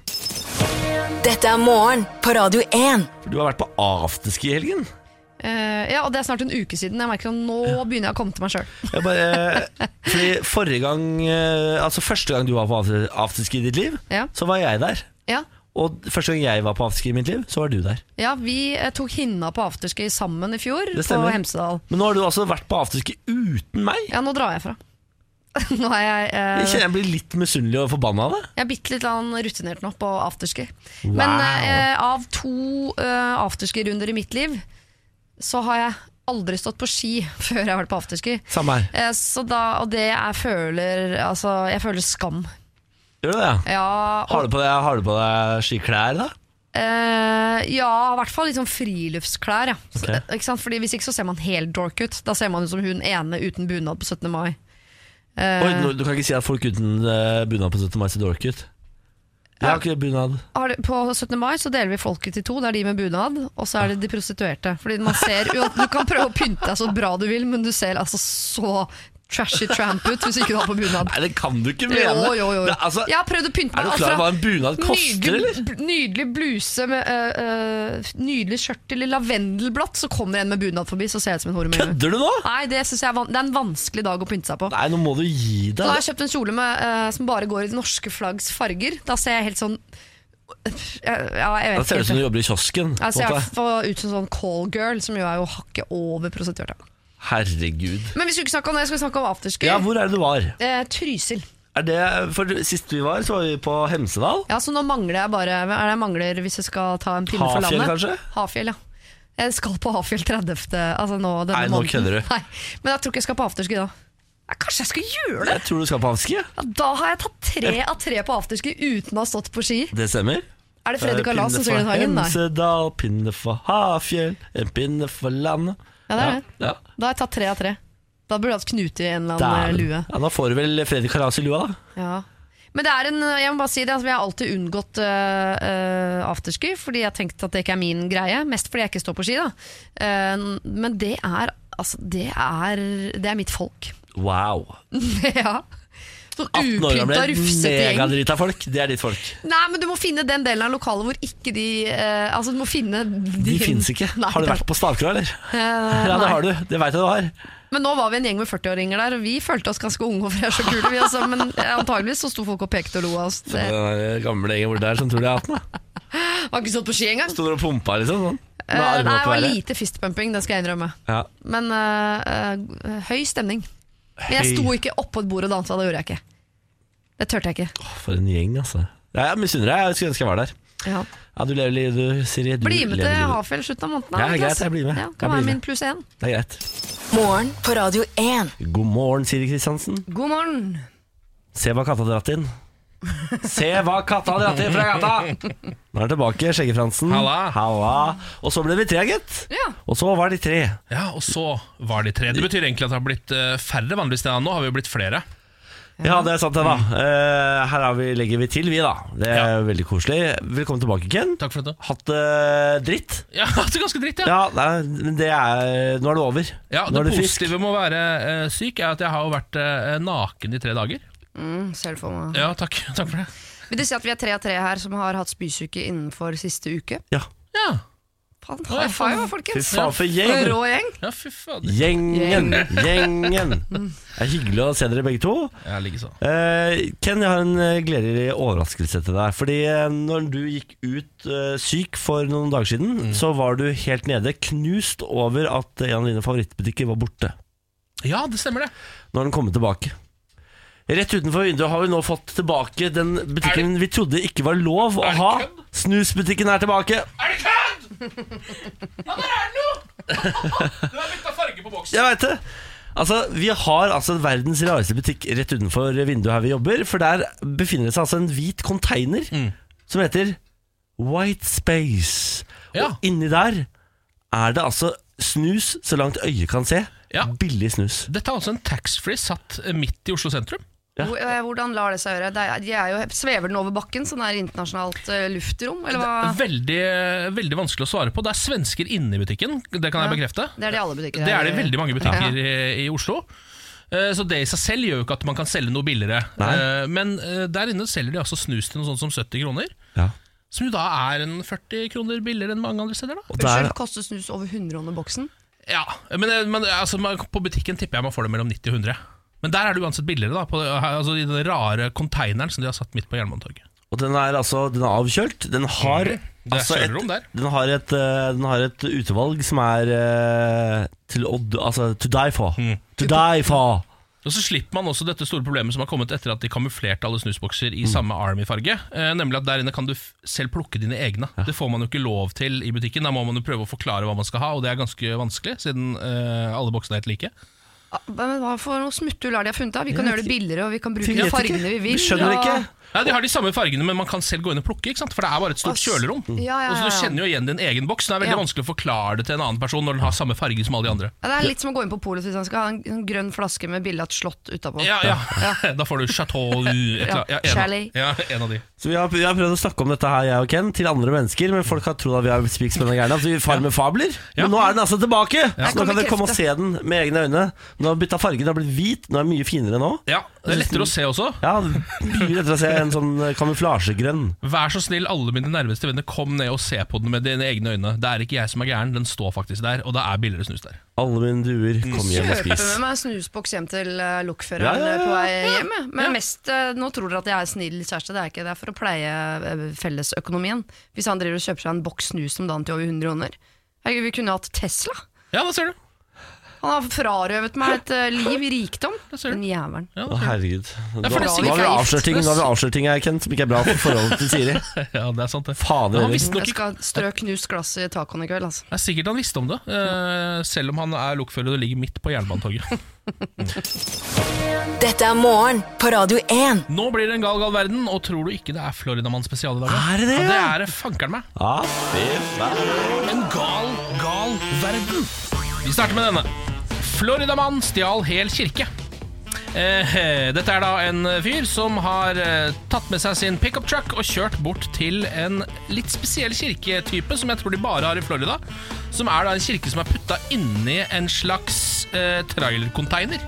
Speaker 4: Dette er morgen på Radio 1.
Speaker 2: For du har vært på afterski i helgen.
Speaker 3: Eh, ja, og Det er snart en uke siden. Jeg merker at Nå begynner jeg å komme til meg sjøl.
Speaker 2: Jeg bare, eh, fordi forrige gang eh, Altså Første gang du var på after- afterski i ditt liv,
Speaker 3: Ja.
Speaker 2: så var jeg der.
Speaker 3: Ja.
Speaker 2: Og første gang jeg var på afterski i mitt liv, så var du der.
Speaker 3: Ja, vi eh, tok hinna på afterski sammen i fjor
Speaker 2: Det
Speaker 3: på
Speaker 2: stemmer.
Speaker 3: Hemsedal.
Speaker 2: Men nå har du altså vært på afterski uten meg.
Speaker 3: Ja, nå drar jeg fra. nå er jeg,
Speaker 2: Jeg
Speaker 3: eh,
Speaker 2: kjenner jeg blir litt misunnelig og forbanna av det.
Speaker 3: jeg er bitte litt grann rutinert nå på afterski.
Speaker 2: Wow.
Speaker 3: Men eh, av to eh, afterski-runder i mitt liv, så har jeg aldri stått på ski før jeg har vært på afterski.
Speaker 2: Samme her.
Speaker 3: Eh, så da, og det jeg føler Altså, jeg føler skam.
Speaker 2: Gjør du det? ja?
Speaker 3: Ja, og,
Speaker 2: Har du på deg, har du på deg skiklær, da?
Speaker 3: eh, ja i hvert fall litt sånn friluftsklær. Ja. Så,
Speaker 2: Ok.
Speaker 3: eh, ikke sant? Fordi Hvis ikke så ser man helt dork ut. Da ser man ut som hun ene uten bunad på 17. mai. Eh,
Speaker 2: Oi, nå- du kan ikke si at folk uten eh, bunad på 17. mai ser dork ut. Jeg har ikke bunad.
Speaker 3: har det, på 17. mai så deler vi folket i to. Det er de med bunad, og så er det de prostituerte. Fordi man ser jo at Du kan prøve å pynte deg så bra du vil, men du ser altså så trashy tramp ut hvis ikke du har på bunad.
Speaker 2: Nei, det kan du ikke mene!
Speaker 3: Jo, jo, jo.
Speaker 2: Det, er- altså,
Speaker 3: Jeg har prøvd å
Speaker 2: er
Speaker 3: pynte meg.
Speaker 2: du
Speaker 3: alt
Speaker 2: klar over
Speaker 3: fra
Speaker 2: hva en bunad koster,
Speaker 3: nydelig,
Speaker 2: eller?
Speaker 3: bl- nydelig bluse med øh, øh, nydelig skjørt eller lavendelblått, så kommer en med bunad forbi, så ser jeg ut som en horemøye.
Speaker 2: Kødder du nå?!
Speaker 3: Nei, det, synes jeg er, van det er en vanskelig dag å pynte seg på.
Speaker 2: Nei, nå må du gi
Speaker 3: Så nå
Speaker 2: deg.
Speaker 3: har jeg kjøpt en kjole med, eh, som bare går i det norske flaggs farger. Da ser jeg helt sånn ja, jeg
Speaker 2: Da
Speaker 3: vet
Speaker 2: ser det ut
Speaker 3: ikke.
Speaker 2: som du
Speaker 3: helt.
Speaker 2: jobber i kiosken. på
Speaker 3: Jeg ser i
Speaker 2: en
Speaker 3: hvert
Speaker 2: måte.
Speaker 3: fall ut som en sånn callgirl, som jo er jo hakket over prostituerte.
Speaker 2: Herregud.
Speaker 3: Men vi skulle ikke snakke om det, vi skulle snakke om afterski.
Speaker 2: Ja, hvor er det du var?
Speaker 3: eh, Trysil.
Speaker 2: Er det, for Sist vi var, så var vi på Hemsedal.
Speaker 3: Ja, så nå mangler jeg bare Hva er det jeg mangler hvis jeg skal ta en pinne for
Speaker 2: Hafjell,
Speaker 3: landet?
Speaker 2: kanskje?
Speaker 3: Hafjell, ja. Jeg skal på Hafjell 30. Altså nå, denne
Speaker 2: Nei, nå
Speaker 3: måneden.
Speaker 2: kødder du.
Speaker 3: Nei, men jeg tror ikke jeg skal på afterski da. Ja, kanskje jeg skal gjøre det?
Speaker 2: Jeg tror du skal på afterski. ja.
Speaker 3: Ja, da har jeg tatt tre av tre på afterski uten å ha stått på ski.
Speaker 2: Det stemmer. Eh,
Speaker 3: Er det Fredrik Kalas som synger den sangen? Nei.
Speaker 2: Hemsedal, pinne for Hafjell, en pinne for landet.
Speaker 3: Ja, det er det.
Speaker 2: Ja, ja.
Speaker 3: Da har jeg tatt tre av tre. Da burde jeg hatt knute i en eller annen
Speaker 2: Dæven.
Speaker 3: lue.
Speaker 2: Ja, da får du vel Fredrik Kalas i lua, da.
Speaker 3: Ja. Men det er en, jeg må bare si det, altså, jeg har alltid unngått øh, øh, afterski, fordi jeg har tenkt at det ikke er min greie. Mest fordi jeg ikke står på ski, da. Eh, men det er, altså, det er, det er mitt folk.
Speaker 2: Wow.
Speaker 3: ja. Sånn
Speaker 2: 18 år
Speaker 3: upynta,
Speaker 2: gamle
Speaker 3: rufsete gjeng.
Speaker 2: megadrita folk. Det er ditt folk.
Speaker 3: Nei, men du må finne den delen av lokalet hvor ikke de eh, Altså, du må finne
Speaker 2: De finnes ikke.
Speaker 3: Nei,
Speaker 2: Har du vært på Stavkra, eller?
Speaker 3: Eh,
Speaker 2: Ja, det
Speaker 3: nei.
Speaker 2: har du. Det veit jeg du har.
Speaker 3: Men nå var vi en gjeng med 40-åringer der, og vi følte oss ganske unge og vi er så kule, vi altså. Men antageligvis så sto folk og pekte og lo av oss. Det
Speaker 2: Den der gamle gjengen hvor det er som tror de er 18. da.
Speaker 3: var ikke stått på ski engang.
Speaker 2: Sto der og pumpa, liksom. Sånn.
Speaker 3: Eh,
Speaker 2: Med armene opp
Speaker 3: nei, det
Speaker 2: i
Speaker 3: var
Speaker 2: været.
Speaker 3: lite fistpumping, det skal jeg innrømme.
Speaker 2: Ja.
Speaker 3: Men eh, eh, høy stemning. Men jeg
Speaker 2: Høy.
Speaker 3: sto ikke oppå et bord og dansa, det gjorde jeg ikke. Det turte jeg ikke.
Speaker 2: Åh, For en gjeng, altså. Ja, jeg misunner deg. Jeg skulle ønske jeg var der.
Speaker 3: Ja.
Speaker 2: Ja, du lever livet, du, Siri. Du
Speaker 3: Bli med
Speaker 2: lever
Speaker 3: til
Speaker 2: livet.
Speaker 3: Hafjell slutten av måneden. da,
Speaker 2: Ja, greit,
Speaker 3: Niklas.
Speaker 2: jeg blir med.
Speaker 3: Ja,
Speaker 2: Jeg
Speaker 3: kan være
Speaker 2: blir med.
Speaker 3: min pluss én.
Speaker 2: Det er greit.
Speaker 4: Morgen på Radio 1.
Speaker 2: God morgen, Siri Kristiansen.
Speaker 3: God morgen.
Speaker 2: Se hva katta har dratt inn. Se hva katta har dratt inn fra gata! Nå er han tilbake, Skjeggefransen.
Speaker 1: Halla.
Speaker 2: Halla. Og så ble vi tre, gitt.
Speaker 3: Ja.
Speaker 2: Og så var de tre.
Speaker 1: Ja, og så var de tre. Det betyr egentlig at det har blitt eh, færre vanligvis enn nå, har vi jo blitt flere.
Speaker 2: Ja, det er sant det, da. Eh, her har vi, legger vi til, vi, da. Det er
Speaker 1: Ja.
Speaker 2: veldig koselig. Velkommen tilbake, Ken.
Speaker 1: Takk for dette.
Speaker 2: Hatt det dritt?
Speaker 1: Ja, det er ganske dritt, ja.
Speaker 2: Ja, nei, men det er Nå er det over.
Speaker 1: Ja,
Speaker 2: nå
Speaker 1: Det
Speaker 2: er du frisk.
Speaker 1: positive med å være eh, syk er at jeg har jo vært eh, naken i tre dager.
Speaker 3: Mm, selv for
Speaker 2: Mhm.
Speaker 3: meg.
Speaker 1: Ja, takk, takk for det.
Speaker 3: Vil det si at vi er tre av tre her som har hatt spysuke innenfor siste uke?
Speaker 2: Ja.
Speaker 1: Ja,
Speaker 3: Faen,
Speaker 1: Oi,
Speaker 3: high five,
Speaker 2: Fy
Speaker 3: folkens!
Speaker 2: faen, for
Speaker 3: For en
Speaker 2: gjeng!
Speaker 3: rå gjeng.
Speaker 1: ja fy fader.
Speaker 2: Gjengen, gjengen. Det er hyggelig å se dere begge to.
Speaker 1: Jeg ligger sånn.
Speaker 2: Eh, Ken, jeg har en eh, gledelig overraskelse til deg. Fordi eh, når du gikk ut eh, syk for noen dager siden, så var du helt nede, knust over at en av dine favorittbutikker var borte.
Speaker 1: Ja, det stemmer, det.
Speaker 2: Nå har den kommet tilbake. Rett utenfor vinduet har vi nå fått tilbake den butikken vi trodde ikke var lov å
Speaker 1: Er det
Speaker 2: ha.
Speaker 1: kødd?
Speaker 2: Snusbutikken er tilbake.
Speaker 1: Er det kødd?! Ja, der er den jo! Du har bytta farge farge på boksen.
Speaker 2: Jeg veit det. Altså, Vi har altså verdens rareste butikk rett utenfor vinduet her vi jobber. For der befinner det seg altså en hvit container som heter White Space.
Speaker 1: Ja.
Speaker 2: Og inni der er det altså snus så langt øyet kan se.
Speaker 1: Ja.
Speaker 2: Billig snus.
Speaker 1: Dette er altså en taxfree satt eh, midt i Oslo sentrum.
Speaker 2: Ja.
Speaker 3: Hvor- eh, Hvordan lar det seg gjøre? Det er, de er jo, svever den over bakken, sånn der internasjonalt eh, luftrom? Eller hva?
Speaker 1: Veldig, eh, veldig vanskelig å svare på. Det er svensker inne i butikken, det kan jeg bekrefte.
Speaker 3: Det er det i alle butikker.
Speaker 1: Det er det i veldig mange butikker
Speaker 3: Ja.
Speaker 1: i, i Oslo. Eh, Så det i seg selv gjør jo ikke at man kan selge noe billigere.
Speaker 2: Nei.
Speaker 1: Eh, Men eh, der inne selger de altså snus til noe sånt som 70 kroner.
Speaker 2: Ja.
Speaker 1: Som jo da er en 40 kroner billigere enn mange andre steder. da
Speaker 2: Og der,
Speaker 3: Unnskyld, koster snus over 100 i boksen?
Speaker 1: Ja, Men, eh, men altså, man, på butikken tipper jeg man får det mellom 90 og 100. Men der er det uansett billigere, da. På, her- altså, I den rare konteineren som de har satt midt på Jernbanetorget.
Speaker 2: og den er altså den er avkjølt. Den har
Speaker 1: Det er kjølerom der.
Speaker 2: et, den har, et, eh, den har et utvalg som er eh, til å altså, to die for. To die for!
Speaker 1: Og så slipper man også dette store problemet som har kommet etter at de kamuflerte alle snusbokser i samme Army-farge. Eh, nemlig at der inne kan du f selv plukke dine egne. Det får man jo ikke lov til i butikken. Da må man jo prøve å forklare hva man skal ha, og det er ganske vanskelig, siden eh, alle boksene er helt like.
Speaker 3: Ah, Men hva for noe smutthull er det de har funnet? da? Vi kan
Speaker 2: Jeg
Speaker 3: gjøre det
Speaker 2: vet
Speaker 3: billigere, og vi kan
Speaker 2: Vi
Speaker 3: bruke de
Speaker 2: vet ikke.
Speaker 3: fargene vi vil.
Speaker 2: Vi skjønner
Speaker 3: og-
Speaker 2: ikke.
Speaker 1: Nei, De har de samme fargene, men man kan selv gå inn og plukke, ikke sant? for det er bare et stort
Speaker 3: Ass.
Speaker 1: kjølerom.
Speaker 3: Ja, ja,
Speaker 1: Og så
Speaker 3: ja.
Speaker 1: Du kjenner jo igjen din egen boks. Det er veldig
Speaker 3: Ja.
Speaker 1: vanskelig å forklare det til en annen person når den har samme farge som alle de andre.
Speaker 3: Ja, det er litt som å gå inn på polet hvis man skal ha en, en grønn flaske med bilde av et slott utapå.
Speaker 1: Ja, ja. Da får du Chateau et eller annet. ja, en,
Speaker 3: Chalet.
Speaker 1: av- ja, en av de.
Speaker 2: Så vi har, vi har prøvd å snakke om dette her, jeg og Ken, til andre mennesker, men folk har trodd at vi er spikspennende gærne. At vi far med fabler.
Speaker 1: Ja.
Speaker 2: Men nå er den altså tilbake!
Speaker 3: Her
Speaker 2: Så nå
Speaker 3: kommer
Speaker 2: kan dere komme og se
Speaker 3: kreftene.
Speaker 2: den med egne øyne. Den har bytta farge, den har blitt hvit, den er mye finere nå.
Speaker 1: Ja, Det er lettere å se også.
Speaker 2: Ja, Mye lettere å se en sånn kamuflasjegrønn.
Speaker 1: Vær så snill, alle mine nærmeste venner, kom ned og se på den med dine egne øyne. Det er ikke jeg som er gæren, den står faktisk der, og det er billigere snus der.
Speaker 2: Alle mine duer, kom hjem og
Speaker 3: Kjøper
Speaker 2: spis.
Speaker 3: med meg en snusboks hjem til eh, lokføreren
Speaker 2: Ja, ja, ja,
Speaker 3: eh, på vei hjem. jeg. Men mest, eh, nå tror dere at jeg er snill kjæreste, det er ikke det. er for å pleie eh, fellesøkonomien. Hvis han driver og kjøper seg en boks snus som dagen til over 100 kroner. Herregud, vi kunne hatt Tesla.
Speaker 1: Ja, da ser du.
Speaker 3: Han har frarøvet meg et eh, liv i rikdom.
Speaker 1: Det ser du.
Speaker 3: Den jævelen.
Speaker 1: Ja,
Speaker 2: Å,
Speaker 1: da ser du.
Speaker 2: herregud.
Speaker 1: for
Speaker 2: Nå
Speaker 1: det er
Speaker 2: nå
Speaker 1: sikkert
Speaker 2: har vi
Speaker 3: feil.
Speaker 2: avslørt ting, nå har vi avslørt ting her, Ken, som ikke er bra for forholdet til Siri.
Speaker 1: ja, det er sant, det.
Speaker 2: Fader
Speaker 1: Han
Speaker 2: heller.
Speaker 1: visste nok
Speaker 3: Jeg
Speaker 1: ikke
Speaker 3: skal strø knust glass i tacoen i kveld, altså.
Speaker 1: det er sikkert han visste om det, eh, selv om han er lokfører og det ligger midt på jernbanetoget.
Speaker 4: Dette er morgen på Radio 1.
Speaker 1: Nå blir det en gal, gal verden, og tror du ikke det er Floridamann spesial i dag? da?
Speaker 2: Er det det,
Speaker 1: Ja, det
Speaker 2: ja?
Speaker 1: er det fankeren meg.
Speaker 2: Ja, fy faen.
Speaker 1: En gal, gal verden. Vi starter med denne. Floridamann stjal hel kirke. Eh, dette er da en fyr som har eh, tatt med seg sin pickup truck og kjørt bort til en litt spesiell kirketype som jeg tror de bare har i Florida. Som er da en kirke som er putta inni en slags eh, trailercontainer.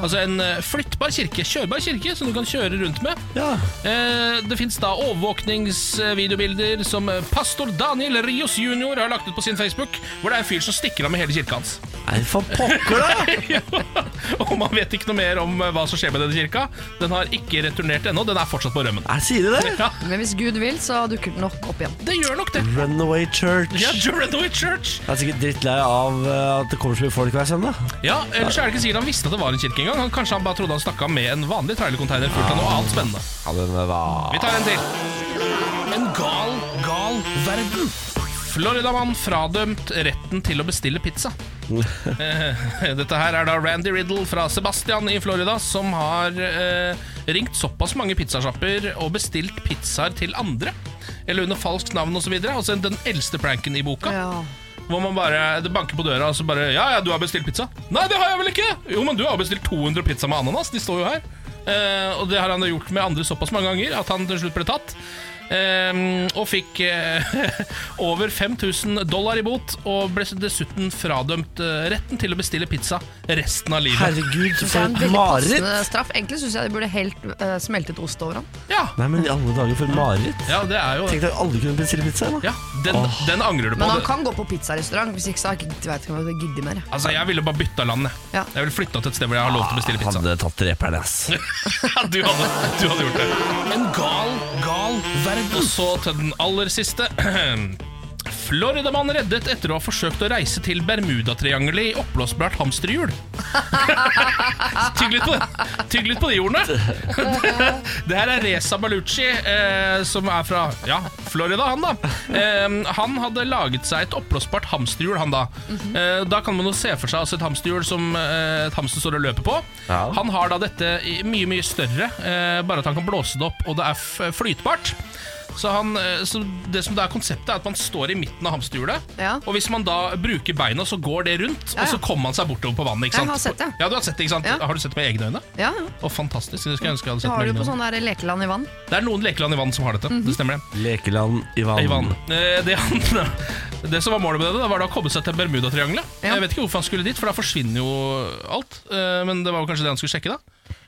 Speaker 1: Altså en eh, flyttbar kirke, kjørbar kirke, som du kan kjøre rundt med.
Speaker 2: Ja.
Speaker 1: Eh, Det finnes da overvåkningsvideobilder som pastor Daniel Rios jr. har lagt ut på sin Facebook, hvor det er en fyr som stikker av med hele kirka hans.
Speaker 2: Nei, for pokker, da!
Speaker 1: Og man vet ikke noe mer om eh, hva som skjer med denne kirka. Den har ikke returnert ennå, den er fortsatt på rømmen.
Speaker 2: Nei, Sier de det?
Speaker 1: Ja,
Speaker 3: Men hvis Gud vil, så dukker den nok opp igjen.
Speaker 1: det gjør nok det.
Speaker 2: Runaway Church.
Speaker 1: Ja, Jerenoi Church.
Speaker 2: Jeg er sikkert drittlei av eh, at det kommer så mye folk hver søndag.
Speaker 1: Ja, Ellers er det ikke sikkert han visste at det var en kirke engang. Han- Kanskje han bare trodde han stakk av med en vanlig trailercontainer fullt av noe annet spennende.
Speaker 2: Ja, den var
Speaker 1: Vi tar en til. En gal, gal verden. Floridamann fradømt retten til å bestille pizza. Eh, Dette her er da Randy Riddle fra Sebastian i Florida som har eh, ringt såpass mange pizzasjapper og bestilt pizzaer til andre. Eller under falskt navn osv. Altså den eldste pranken i boka. Hvor man bare det banker på døra og så bare Ja, ja, du har bestilt pizza. Nei, det har jeg vel ikke! Jo, men du har bestilt 200 pizza med ananas. De står jo her. Eh, og det har han da gjort med andre såpass mange ganger at han til slutt ble tatt. Eh, og fikk eh, over 5000 dollar i bot, og ble dessuten fradømt eh, retten til å bestille pizza resten av livet.
Speaker 2: Herregud,
Speaker 3: Det
Speaker 2: for
Speaker 3: er en
Speaker 2: et
Speaker 3: veldig
Speaker 2: mareritt!
Speaker 3: passende straff. Egentlig syns jeg de burde helt eh, smeltet ost over han.
Speaker 1: Ja,
Speaker 2: Nei, men i alle dager, for et mareritt.
Speaker 1: ja, det er jo
Speaker 2: Tenk deg at alle kunne bestille pizza. Da.
Speaker 1: ja, den, den angrer du på.
Speaker 3: Men han
Speaker 1: Det-
Speaker 3: kan gå på pizzarestaurant, hvis ikke så har jeg ikke- vet ikke om jeg gidder mer. jeg.
Speaker 1: Altså, Jeg ville bare bytta land. jeg.
Speaker 3: Ja.
Speaker 1: Jeg ville flytta til et sted hvor jeg har lov til å bestille pizza.
Speaker 2: Hadde tatt dreperen, ass.
Speaker 1: Ja, du hadde, du hadde gjort det. En gal, gal verden. Og så til den aller siste. Floridamann reddet etter å ha forsøkt å reise til Bermudatriangelet i oppblåsbart hamsterhjul. Tygg litt på, tygg litt på de ordene. Det her er Reza Balucci, eh, som er fra ja, Florida, han da. Eh, han hadde laget seg et oppblåsbart hamsterhjul, han da. eh, da kan man jo se for seg altså, et hamsterhjul som eh, et hamster står og løper på.
Speaker 2: Ja.
Speaker 1: Han har da dette i- mye, mye større, eh, bare at han kan blåse det opp, og det er f eh, flytbart. Så, han, eh, så det som det er konseptet er at man står i midten av hamsterhjulet,
Speaker 3: Ja.
Speaker 1: og hvis man da bruker beina, så går det rundt,
Speaker 3: Ja,
Speaker 1: og
Speaker 3: ja.
Speaker 1: så kommer man seg bortover på vannet, ikke
Speaker 3: Jeg
Speaker 1: sant?
Speaker 3: har sett det.
Speaker 1: Ja, du har sett det, ikke sant?
Speaker 3: Ja.
Speaker 1: Har du sett det med egne øyne?
Speaker 3: Ja, ja.
Speaker 1: Å, fantastisk, det skulle jeg ønske jeg hadde
Speaker 3: Så
Speaker 1: sett
Speaker 3: har
Speaker 1: med
Speaker 3: du på Mhm.
Speaker 1: egne øyne.
Speaker 3: sånn der lekeland i vann.
Speaker 1: Det er noen lekeland i vann som har dette, det stemmer det.
Speaker 2: Lekeland i vann.
Speaker 1: I vann. Eh, Det, han, det som var målet med det, da, var da å komme seg til Bermudatriangelet.
Speaker 3: Ja.
Speaker 1: Jeg vet ikke hvorfor han skulle dit, for da forsvinner jo alt. Eh, Men det var jo kanskje det han skulle sjekke, da.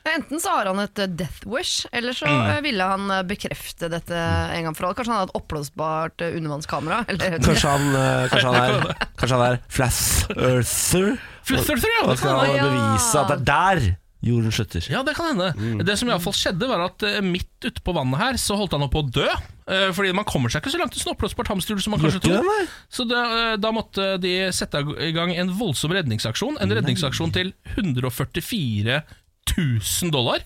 Speaker 3: Ja, Enten så har han et eh, death wish, eller så eh, ville han eh, bekrefte dette en gang for alle. Kanskje han hadde et oppblåsbart eh, undervannskamera. Eller,
Speaker 2: Kanskje han, eh, kanskje han er Kanskje han er Flass Earther.
Speaker 1: Flytter, ja,
Speaker 2: Og
Speaker 1: det kan
Speaker 2: skal
Speaker 1: hende.
Speaker 2: han
Speaker 3: Ja.
Speaker 2: bevise at det er der jorden slutter.
Speaker 1: Ja, det kan hende.
Speaker 2: Mm.
Speaker 1: Det som iallfall skjedde, var at eh, midt ute på vannet her, så holdt han opp å dø. Eh, Fordi man kommer seg ikke så langt til snoppblåsbart hamsterhjul som man
Speaker 2: Gjør
Speaker 1: kanskje
Speaker 2: ikke det,
Speaker 1: tror.
Speaker 2: nei?
Speaker 1: Så da, eh, da måtte de sette i gang en voldsom redningsaksjon. En redningsaksjon til 144 000 dollar.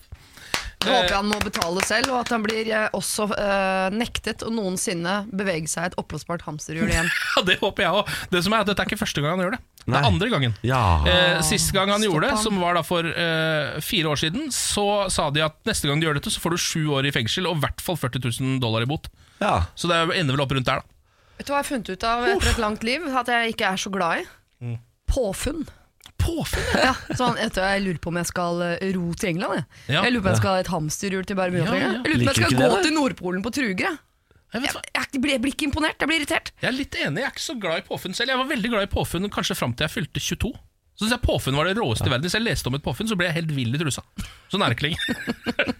Speaker 3: Jeg håper han må betale selv, og at han blir eh, også eh, nektet å noensinne bevege seg i et oppblåsbart hamsterhjul igjen.
Speaker 1: Ja, Det håper jeg òg. Det som er at dette er ikke første gang han gjør det. Det
Speaker 2: Nei.
Speaker 1: er andre gangen.
Speaker 2: Ja.
Speaker 1: Eh, Sist gang han
Speaker 3: Stopp
Speaker 1: gjorde det,
Speaker 3: han.
Speaker 1: som var da for eh, fire år siden, så sa de at neste gang du gjør dette, så får du sju år i fengsel og i hvert fall 40 000 dollar i bot.
Speaker 2: ja.
Speaker 1: Så det ender vel opp rundt der, da.
Speaker 3: Vet du hva jeg har funnet ut av etter et langt liv at jeg ikke er så glad i? Påfunn.
Speaker 1: Påfunn!
Speaker 3: Ja, sånn, jeg, tror jeg lurer på om jeg skal eh, ro til England. Jeg,
Speaker 1: Ja.
Speaker 3: jeg lurer på om jeg skal ha et hamsterhjul til Bermuda.
Speaker 1: Ja, ja.
Speaker 3: Jeg lurer på om jeg
Speaker 2: Liker
Speaker 3: skal
Speaker 2: du ikke
Speaker 3: gå
Speaker 2: det, da?
Speaker 3: til Nordpolen på truger. Jeg.
Speaker 1: Jeg vet hva.
Speaker 3: Jeg, jeg, blir, jeg blir ikke imponert, jeg blir irritert.
Speaker 1: Jeg er litt enig, jeg er ikke så glad i påfunn selv. Jeg var veldig glad i påfunn kanskje fram til jeg fylte 22. Så synes jeg påfunn var det råeste i verden. Hvis jeg leste om et påfunn, så ble jeg helt vill i trusa. Sånn er det ikke lenger.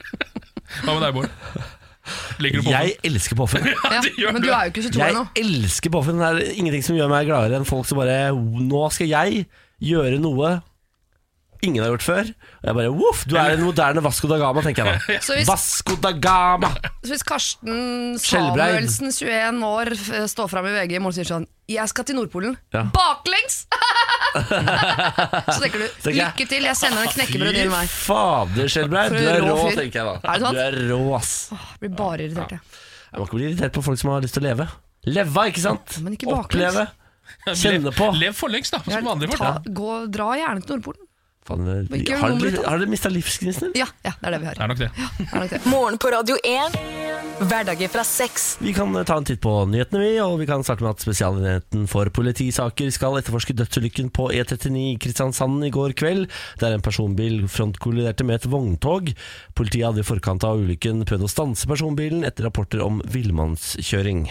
Speaker 1: Hva med deg, Bård? Liker du påfunn?
Speaker 2: Jeg elsker påfunn.
Speaker 3: Ja,
Speaker 1: du gjør
Speaker 3: men
Speaker 1: det.
Speaker 3: du er jo ikke 22
Speaker 2: Jeg
Speaker 3: ennå.
Speaker 2: elsker påfunn. Det er ingenting som gjør meg gladere enn folk som bare Nå skal jeg gjøre noe ingen har gjort før. Og jeg bare voff, du er en moderne Vasco da Gama, tenker jeg
Speaker 3: Så
Speaker 2: da.
Speaker 3: hvis-
Speaker 2: Vasco da Gama!
Speaker 3: Så hvis Karsten
Speaker 2: Skjelbreid.
Speaker 3: Samuelsen, 21 år, f- står fram i VG i morgen og sier sånn 'Jeg skal til Nordpolen'.
Speaker 2: Ja.
Speaker 3: Baklengs! så tenker du
Speaker 2: tenker jeg,
Speaker 3: 'lykke til, jeg sender en knekkebrød din vei'.
Speaker 2: fader, Skjelbreid.
Speaker 3: For
Speaker 2: Du
Speaker 3: en
Speaker 2: er
Speaker 3: rå
Speaker 2: rå,
Speaker 3: fyr.
Speaker 2: tenker jeg da.
Speaker 3: Er det sant?
Speaker 2: Du er rå, ass.
Speaker 3: Blir bare irritert, jeg.
Speaker 2: Jeg må ikke bli irritert på folk som har lyst til å leve. Leve, ikke sant?
Speaker 3: Men ikke baklengs.
Speaker 2: Oppleve. Kjenne på.
Speaker 1: Lev- Lev forlengs, da, som vanlige folk.
Speaker 3: Ta, gå, dra gjerne til Nordpolen.
Speaker 2: Faen,
Speaker 3: Men ikke
Speaker 2: har
Speaker 3: nummer
Speaker 2: dere,
Speaker 3: to.
Speaker 2: har dere mista livsgnisten?
Speaker 3: Ja, ja, det er det vi
Speaker 1: Det
Speaker 3: har.
Speaker 1: er nok det.
Speaker 3: Det er nok det.
Speaker 4: Morgen på Radio 1. Hverdager fra seks.
Speaker 2: Vi kan eh, ta en titt på nyhetene, vi. Og vi kan starte med at Spesialenheten for politisaker skal etterforske dødsulykken på E39 i Kristiansand i går kveld, der en personbil frontkolliderte med et vogntog. Politiet hadde i forkant av ulykken prøvd å stanse personbilen etter rapporter om villmannskjøring.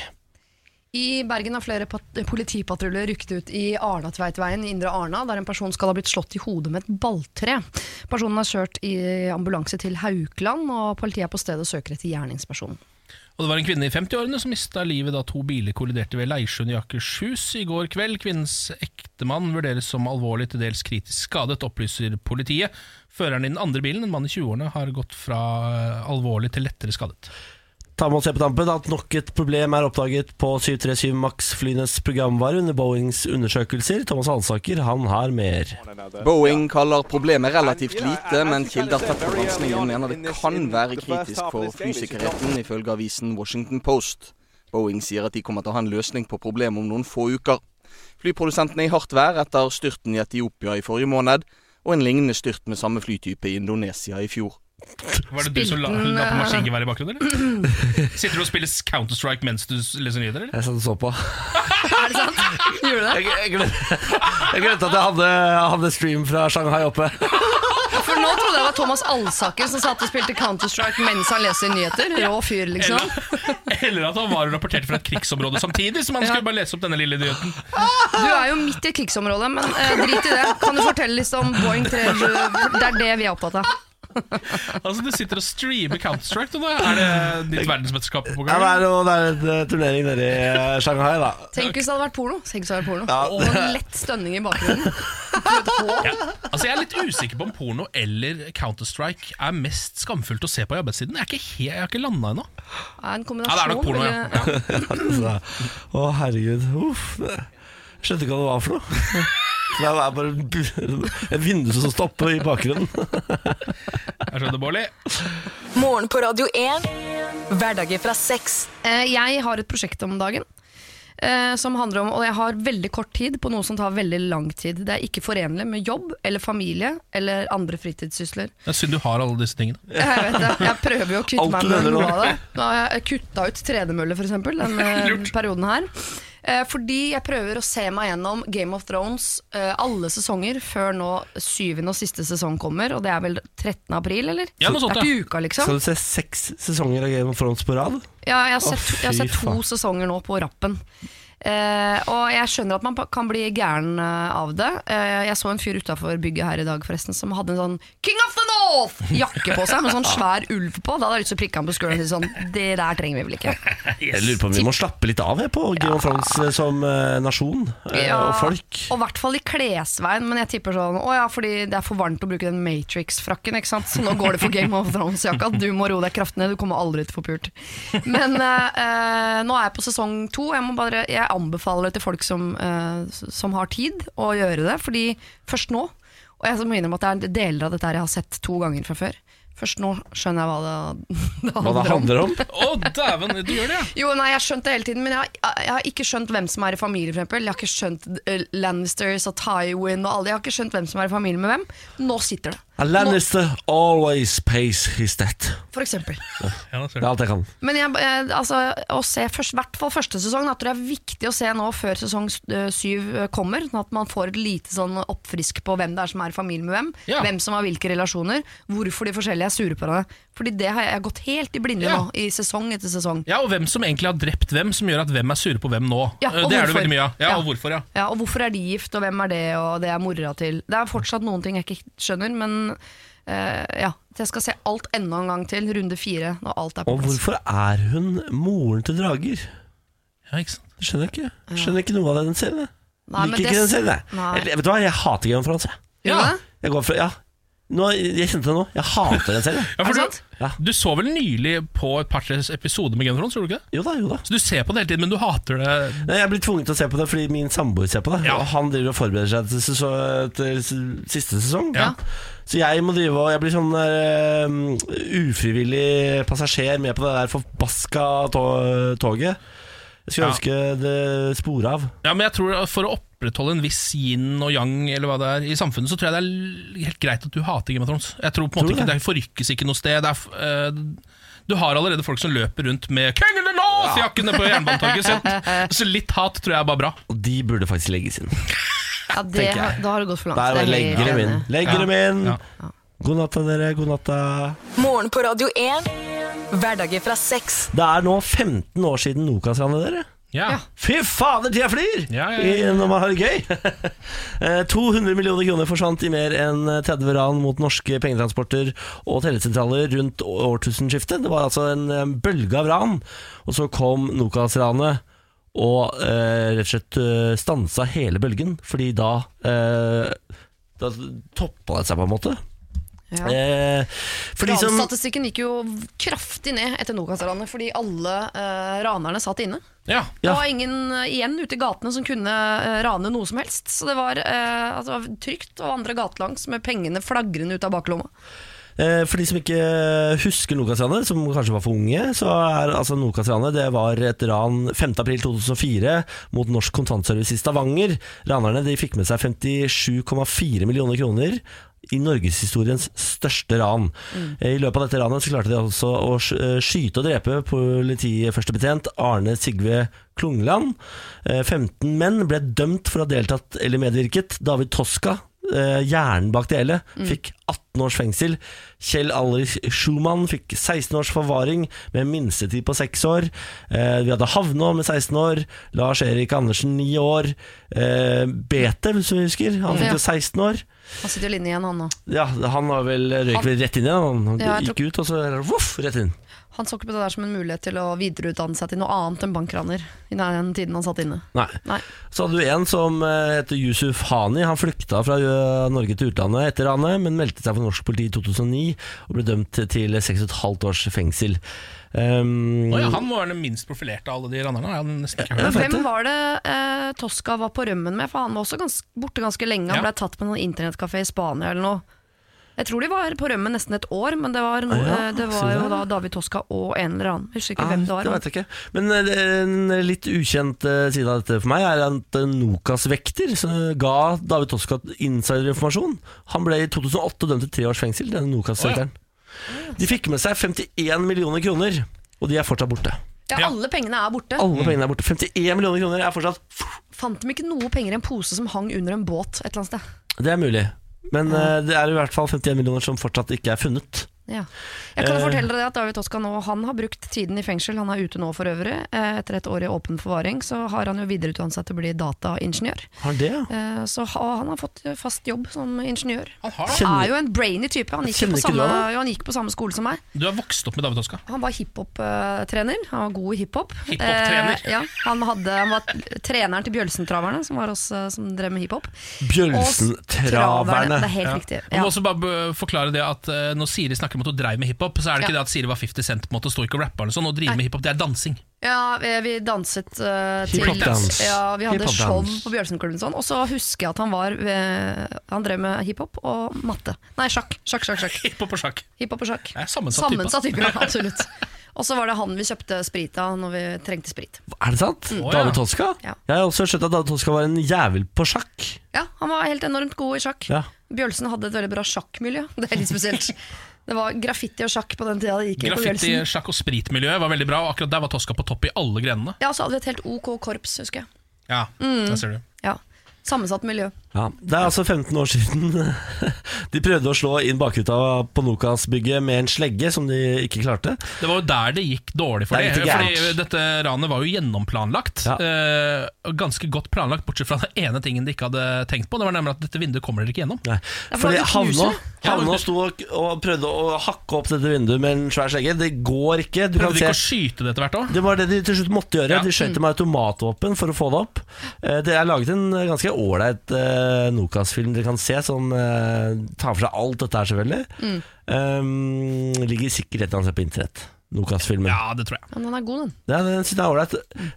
Speaker 3: I Bergen har flere pat- politipatruljer rykket ut i Arnatveitveien i Indre Arna, der en person skal ha blitt slått i hodet med et balltre. Personen har kjørt i ambulanse til Haukeland, og politiet er på stedet og søker etter gjerningspersonen.
Speaker 1: Og det var en kvinne i 50-årene som mista livet da to biler kolliderte ved Leirsjøen i Akershus i går kveld. Kvinnens ektemann vurderes som alvorlig til dels kritisk skadet, opplyser politiet. Føreren i den andre bilen, en mann i 20-årene, har gått fra eh, alvorlig til lettere skadet.
Speaker 2: Ta med oss her på tampen at nok et problem er oppdaget på 737 Max-flyenes programvare under Boeings undersøkelser. Thomas Hansaker, han har mer.
Speaker 5: Boeing kaller problemet relativt lite, men kilder tett på bransjen mener det kan være kritisk for flysikkerheten, ifølge avisen Washington Post. Boeing sier at de kommer til å ha en løsning på problemet om noen få uker. Flyprodusentene er i hardt vær etter styrten i Etiopia i forrige måned, og en lignende styrt med samme flytype i Indonesia i fjor.
Speaker 1: Var det du som la,
Speaker 3: Spilte den,
Speaker 1: la på
Speaker 3: eh,
Speaker 1: maskingevær i bakgrunnen, eller? Sitter du og spiller Counter-Strike mens du s- leser nyheter, eller?
Speaker 2: Jeg satt og sånn så på.
Speaker 3: Er det sant? Gjorde du det?
Speaker 2: Jeg, jeg, glemte, jeg glemte at jeg hadde, hadde stream fra Shanghai oppe.
Speaker 3: For nå trodde jeg det var Thomas Alsaker som satt og spilte Counter-Strike mens han leser nyheter. Rå fyr, liksom.
Speaker 1: Eller at han var og rapporterte fra et krigsområde samtidig, så man skulle bare lese opp denne lille nyheten.
Speaker 3: Du er jo midt i krigsområdet, men eh, drit i det. Kan du fortelle litt om Boeing 320? Det er det vi er opptatt av.
Speaker 1: Altså, du sitter og streamer Counter-Strike, du, da. Er det ditt verdensmesterskap på
Speaker 2: Ja, det
Speaker 1: gang?
Speaker 2: er, noe- det er en eh, turnering nede i eh, Shanghai, da.
Speaker 3: Tenk hvis det hadde vært porno. Tenk hvis det hadde vært porno. Og en lett stønning i bakgrunnen.
Speaker 1: Altså Jeg er litt usikker på om porno eller Counter-Strike er mest skamfullt å se på i arbeidstiden. Jeg er ikke helt, jeg har ikke landa ennå.
Speaker 3: Er en
Speaker 1: Ja, det
Speaker 3: kombinasjon
Speaker 1: er nok porno, ja.
Speaker 3: eller-
Speaker 1: ja.
Speaker 2: Å, herregud. Uff. Jeg skjønte ikke hva det var for noe. Det er bare en bu- et vindu som stopper i bakgrunnen.
Speaker 1: Jeg skjønner, Bårli.
Speaker 4: Morgen på Radio 1. Hverdager fra seks.
Speaker 3: Eh, Jeg har et prosjekt om dagen eh, som handler om, og jeg har veldig kort tid på noe som tar veldig lang tid. Det er ikke forenlig med jobb eller familie eller andre fritidssysler.
Speaker 1: Det er synd du har alle disse tingene.
Speaker 3: Jeg vet det, jeg prøver jo å kutte
Speaker 2: Alt
Speaker 3: meg
Speaker 2: du
Speaker 3: med
Speaker 2: nevner
Speaker 3: noe
Speaker 2: nå.
Speaker 3: av det. Nå har jeg kutta ut tredemølle for eksempel denne perioden her. Eh, Fordi jeg prøver å se meg gjennom Game of Thrones eh, alle sesonger før nå syvende og siste sesong kommer, og det er vel 13. april, eller?
Speaker 1: Ja, noe sånt,
Speaker 3: det er ikke uka, liksom.
Speaker 2: Skal du se seks sesonger av Game of Thrones på rad?
Speaker 3: Ja, jeg har
Speaker 2: Å,
Speaker 3: sett, jeg har
Speaker 2: fy
Speaker 3: sett to
Speaker 2: faen.
Speaker 3: sesonger nå på rappen. Eh, og jeg skjønner at man pa- kan bli gæren eh, av det. Eh, jeg så en fyr utafor bygget her i dag forresten som hadde en sånn King of the North-jakke på seg med sånn svær ulv på. Da hadde jeg lyst til å prikke ham på skulderen og si sånn Det der trenger vi vel ikke.
Speaker 2: Jeg lurer på om Vi må slappe litt av jeg, på Game of Thrones eh, som eh, nasjon eh,
Speaker 3: Ja,
Speaker 2: og folk.
Speaker 3: Og i hvert fall i klesveien, men jeg tipper sånn Å ja, fordi det er for varmt å bruke den Matrix-frakken, ikke sant. Så nå går det for Game of Thrones-jakka. Du må roe deg kraftig ned, du kommer aldri til å få pult. Men eh, eh, nå er jeg på sesong to. Jeg, må bare, jeg anbefaler det til folk som, eh, s- som har tid, å gjøre det. Fordi først nå Og jeg må innrømme at det er deler av dette her jeg har sett to ganger fra før. Først nå skjønner jeg hva det, det
Speaker 2: Hva det
Speaker 3: handler om.
Speaker 2: handler om.
Speaker 1: Å, dæven, du gjør det, ja!
Speaker 3: Jo, nei, jeg har skjønt det hele tiden, men jeg har, jeg har ikke skjønt hvem som er i familie, for eksempel. Jeg har ikke skjønt eh, Lannisters og Tywin og alle. Jeg har ikke skjønt hvem som er i familie med hvem. Nå sitter det,
Speaker 2: A Lannister always pays his debt.
Speaker 3: for eksempel.
Speaker 1: ja da ser
Speaker 2: Det er
Speaker 1: du.
Speaker 2: alt jeg kan.
Speaker 3: Men jeg, eh, altså, å se først, hvert fall første sesong, da, tror jeg er viktig å se nå før sesong s- eh, syv eh, kommer, sånn at man får et lite sånn oppfrisk på hvem det er som er i familie med hvem,
Speaker 1: Ja.
Speaker 3: hvem som har hvilke relasjoner, hvorfor de forskjellige er sure på hverandre. Fordi det har jeg, jeg har gått helt i blinde
Speaker 1: Ja.
Speaker 3: nå, i sesong etter sesong.
Speaker 1: Ja, og hvem som egentlig har drept hvem, som gjør at hvem er sure på hvem nå.
Speaker 3: Ja,
Speaker 1: Eh,
Speaker 3: og
Speaker 1: det er det
Speaker 3: hvorfor.
Speaker 1: veldig mye av. Ja,
Speaker 3: Ja.
Speaker 1: og hvorfor, ja.
Speaker 3: Ja, og hvorfor er de gift, og hvem er det, og det er mora til Det er fortsatt noen ting jeg ikke skjønner, men eh, ja. Jeg skal se alt enda en gang til, runde fire, når alt er på
Speaker 2: Og
Speaker 3: plass.
Speaker 2: hvorfor er hun moren til drager?
Speaker 1: ja ikke sant?
Speaker 2: Det skjønner jeg ikke. Skjønner ikke noe av det den serien. jeg.
Speaker 3: Nei, men
Speaker 2: Liker
Speaker 3: det-
Speaker 2: ikke den serien. jeg.
Speaker 3: Nei.
Speaker 2: Eller, Vet du hva, jeg hater Game of Thrones. jeg.
Speaker 1: Ja.
Speaker 3: Gjør du det?
Speaker 2: Jeg går fra, ja nå, Jeg kjente det nå, jeg hater den serien
Speaker 1: Ja,
Speaker 3: Er
Speaker 1: for
Speaker 3: det
Speaker 1: du,
Speaker 3: sant?
Speaker 2: Ja.
Speaker 1: du så vel nylig på et par-tre episoder med Game of Thrones, gjorde du ikke det?
Speaker 2: Jo da, jo da
Speaker 1: Så du ser på det hele tiden, men du hater det
Speaker 2: Nei, Jeg blir tvunget til å se på det fordi min samboer ser på det
Speaker 1: Ja.
Speaker 2: Og han driver og forbereder seg til, seso- til s- siste sesong
Speaker 1: Ja.
Speaker 2: Så jeg må drive og Jeg blir sånn der, um, ufrivillig passasjer Med på det der forbaska to toget Jeg skulle
Speaker 1: Ja.
Speaker 2: ønske det sporet av
Speaker 1: Ja, men jeg tror at For å opprettholde en viss yin og yang eller hva det er i samfunnet, så tror jeg det er l- helt greit at du hater Game of Thrones. Jeg tror på en
Speaker 2: Tror
Speaker 1: måte
Speaker 2: du
Speaker 1: ikke
Speaker 2: det?
Speaker 1: det forrykkes ikke noe sted. Det er, f- eh, du har allerede folk som løper rundt med 'King of the North'-jakkene på Jernbanetorget. Så, så litt hat tror jeg er bare bra.
Speaker 2: Og de burde faktisk legges inn
Speaker 3: Ja, det,
Speaker 2: Tenker jeg.
Speaker 3: da har det gått for langt.
Speaker 2: Der
Speaker 3: Det
Speaker 2: bare
Speaker 3: er helt
Speaker 2: legger dem
Speaker 3: enig.
Speaker 2: inn Legger
Speaker 1: Ja.
Speaker 2: dem
Speaker 3: Mm.
Speaker 2: inn
Speaker 1: Ja.
Speaker 2: God natta dere, god natta
Speaker 4: Morgen på Radio 1. Hverdager fra seks.
Speaker 2: Det er nå 15 år siden Nokas-ranet dere
Speaker 1: Ja.
Speaker 3: Ja.
Speaker 2: Fy fader, tida flyr!
Speaker 1: Ja, ja, ja.
Speaker 2: I- Når man har det gøy. Eh, 200 millioner kroner forsvant i mer enn 30 ran mot norske pengetransporter og tellesentraler rundt å- årtusenskiftet. Det var altså en eh, bølge av ran. Og så kom Nokas-ranet og eh, rett og slett eh, stansa hele bølgen, fordi da eh, da toppa det seg, på en måte.
Speaker 3: Ja.
Speaker 2: Eh, for de som
Speaker 3: Ranstatistikken gikk jo kraftig ned etter Nokas-ranet, fordi alle eh, ranerne satt inne.
Speaker 1: Ja.
Speaker 2: Ja.
Speaker 3: Det var ingen eh, igjen ute i gatene som kunne eh, rane noe som helst. Så det var, eh, altså, det var trygt å vandre gatelangs med pengene flagrende ut av baklomma.
Speaker 2: Eh, For de som ikke husker Nokas-ranet, som kanskje var for unge, så er altså Nokas-ranet Det var et ran 5.4.2004 mot Norsk Kontantservice i Stavanger. Ranerne de fikk med seg 57,4 millioner kroner i norgeshistoriens største ran. Eh, I løpet av dette ranet så klarte de altså å sk- eh, skyte og drepe politiførstebetjent Arne Sigve Klungland. Eh, 15 menn ble dømt for å ha deltatt eller medvirket. David Toska, eh, hjernen bak det hele, fikk 18 18 års fengsel. Kjell Alrich Schumann fikk 16 års forvaring med minstetid på 6 år. Eh, vi hadde Havnå med 16 år. Lars Erik Andersen 9 år. Eh, Betel, som vi husker, han fikk
Speaker 3: Ja.
Speaker 2: jo 16 år.
Speaker 3: Han sitter jo inne igjen, han nå.
Speaker 2: Ja, han var vel røyk
Speaker 3: Han-
Speaker 2: vel rett inn igjen. Han, han
Speaker 3: Ja, jeg
Speaker 2: gikk ut, og så voff, rett inn.
Speaker 3: Han så ikke på det der som en mulighet til å videreutdanne seg til noe annet enn bankraner i den tiden han satt inne.
Speaker 2: Nei.
Speaker 3: Nei.
Speaker 2: Så hadde du en som eh, heter Yusuf Hani. Han flykta fra eh, Norge til utlandet etter ranet, men meldte seg for norsk politi i 2009 og ble dømt til 6,5 års fengsel. Um,
Speaker 1: Å ja, han var den minst profilerte av alle de randerne. Jeg hadde nesten ikke hørt
Speaker 3: Men
Speaker 1: om.
Speaker 3: hvem var det eh, Tosca var på rømmen med? For han var også gans borte ganske lenge. Han
Speaker 1: Ja.
Speaker 3: ble tatt på noen internettkafé i Spania eller noe. Jeg tror de var på rømmen nesten et år, men det var, no
Speaker 2: Ah, ja,
Speaker 3: eh, det
Speaker 2: se
Speaker 3: var jo
Speaker 2: der.
Speaker 3: da David Tosca og en eller annen. Jeg husker ikke
Speaker 2: Ah,
Speaker 3: hvem det var.
Speaker 2: vet jeg ikke. Men eh, en litt ukjent eh, side av dette for meg er at eh, Nokas vekter så ga David Toska insiderinformasjon. Han ble i 2008 dømt til tre års fengsel, denne Nokas-vekteren. De fikk med seg 51 millioner kroner, og de er fortsatt borte.
Speaker 3: Ja,
Speaker 1: Ja.
Speaker 3: alle pengene er borte.
Speaker 2: Alle pengene er borte. 51 millioner kroner er fortsatt
Speaker 3: Fant de ikke noe penger i en pose som hang under en båt et eller annet sted?
Speaker 2: Det er mulig. Men eh, det er i hvert fall 51 millioner som fortsatt ikke er funnet.
Speaker 3: Ja. Jeg kan
Speaker 2: Eh.
Speaker 3: fortelle dere at David Toska nå Han har brukt tiden i fengsel, han er ute nå for øvrig. Eh, Etter et år i åpen forvaring så har han jo videreutdannet seg til å bli dataingeniør.
Speaker 2: Har det, ja?
Speaker 3: Eh, Så ha- han har fått fast jobb som ingeniør.
Speaker 1: Han har
Speaker 2: Kjenner-
Speaker 3: Han er jo en brainy type. Han gikk, jo
Speaker 2: Kjenner
Speaker 3: på
Speaker 2: ikke du
Speaker 3: samme,
Speaker 2: han, da?
Speaker 3: jo, han gikk på samme skole som meg.
Speaker 1: Du er vokst opp med David Oska.
Speaker 3: Han var hiphop-trener. Han var god i hiphop.
Speaker 1: Hiphop-trener.
Speaker 3: Eh, ja, han, hadde, han var treneren til Bjølsentraverne, som var oss eh, som drev med hiphop.
Speaker 2: Bjølsentraverne.
Speaker 3: Det er helt
Speaker 1: Ja.
Speaker 3: riktig.
Speaker 1: Jeg
Speaker 3: Ja.
Speaker 1: må også bare be- forklare det at eh, Når Siri snakker om at hun dreiv med hiphop, så er det ikke det at Siri var 50 Cent på en måte og står ikke og rapper. Eller sånn, å drive med hiphop, det er dansing.
Speaker 3: Ja, vi, vi danset eh, til
Speaker 2: Hiphopdans.
Speaker 3: Ja, vi hadde show
Speaker 2: Hiphopdans.
Speaker 3: på Bjørnsenklubben og sånn. Og så husker jeg at han var eh, Han drev med hiphop og matte. Nei, sjakk. Sjakk, sjakk, sjakk.
Speaker 1: Hiphop og sjakk.
Speaker 3: Hiphop og sjakk.
Speaker 1: Jeg er sammensatt,
Speaker 3: Sammensatt
Speaker 1: type.
Speaker 3: type, ja, absolutt. Og så var det han vi kjøpte sprit av når vi trengte sprit.
Speaker 2: Er det sant?
Speaker 1: Å, ja.
Speaker 2: David Toska?
Speaker 3: Ja.
Speaker 2: Jeg har også skjønt at David Toska var en jævel på sjakk.
Speaker 3: Ja, han var helt enormt god i sjakk.
Speaker 2: Ja.
Speaker 3: Bjølsen hadde et veldig bra sjakkmiljø. Det er litt spesielt. Det var graffiti og sjakk på den tida det gikk på
Speaker 1: Graffiti,
Speaker 3: Bjølsen.
Speaker 1: sjakk og spritmiljøet var veldig bra, og akkurat der var Toska på topp i alle grenene.
Speaker 3: Ja, så hadde vi et helt OK korps, husker jeg.
Speaker 1: Ja, der ser du.
Speaker 3: Ja, Sammensatt miljø.
Speaker 2: Ja, det er altså 15 år siden de prøvde å slå inn bakruta på Nokas-bygget med en slegge, som de ikke klarte.
Speaker 1: Det var jo der det gikk dårlig for
Speaker 2: Det er
Speaker 1: dem.
Speaker 2: litt
Speaker 1: Fordi
Speaker 2: gærent.
Speaker 1: dette ranet var jo gjennomplanlagt.
Speaker 2: Ja.
Speaker 1: eh, og ganske godt planlagt, bortsett fra den ene tingen de ikke hadde tenkt på. Det var nemlig at dette vinduet kommer dere ikke gjennom.
Speaker 2: Nei.
Speaker 3: Ja, for
Speaker 2: Fordi
Speaker 3: det
Speaker 2: Havnå,
Speaker 3: knuser.
Speaker 2: Havnå sto og, og prøvde å hakke opp dette vinduet med en svær slegge. Det går ikke. Du
Speaker 1: Prøvde
Speaker 2: kan
Speaker 1: de ikke å
Speaker 2: se
Speaker 1: skyte det etter hvert òg?
Speaker 2: Det var det de til slutt måtte gjøre.
Speaker 1: Ja.
Speaker 2: De skjøt det med automatvåpen for å få det opp. Eh, Det er laget en ganske ålreit eh, Nokas-film dere kan se, som eh, tar for seg alt dette her, selvfølgelig.
Speaker 1: Mm.
Speaker 2: Um, ligger sikkert et eller annet sted på internett. Nokas-filmen.
Speaker 1: Ja, Mm. det tror jeg.
Speaker 3: Men han er god, den.
Speaker 2: Ja, den synes jeg er ålreit.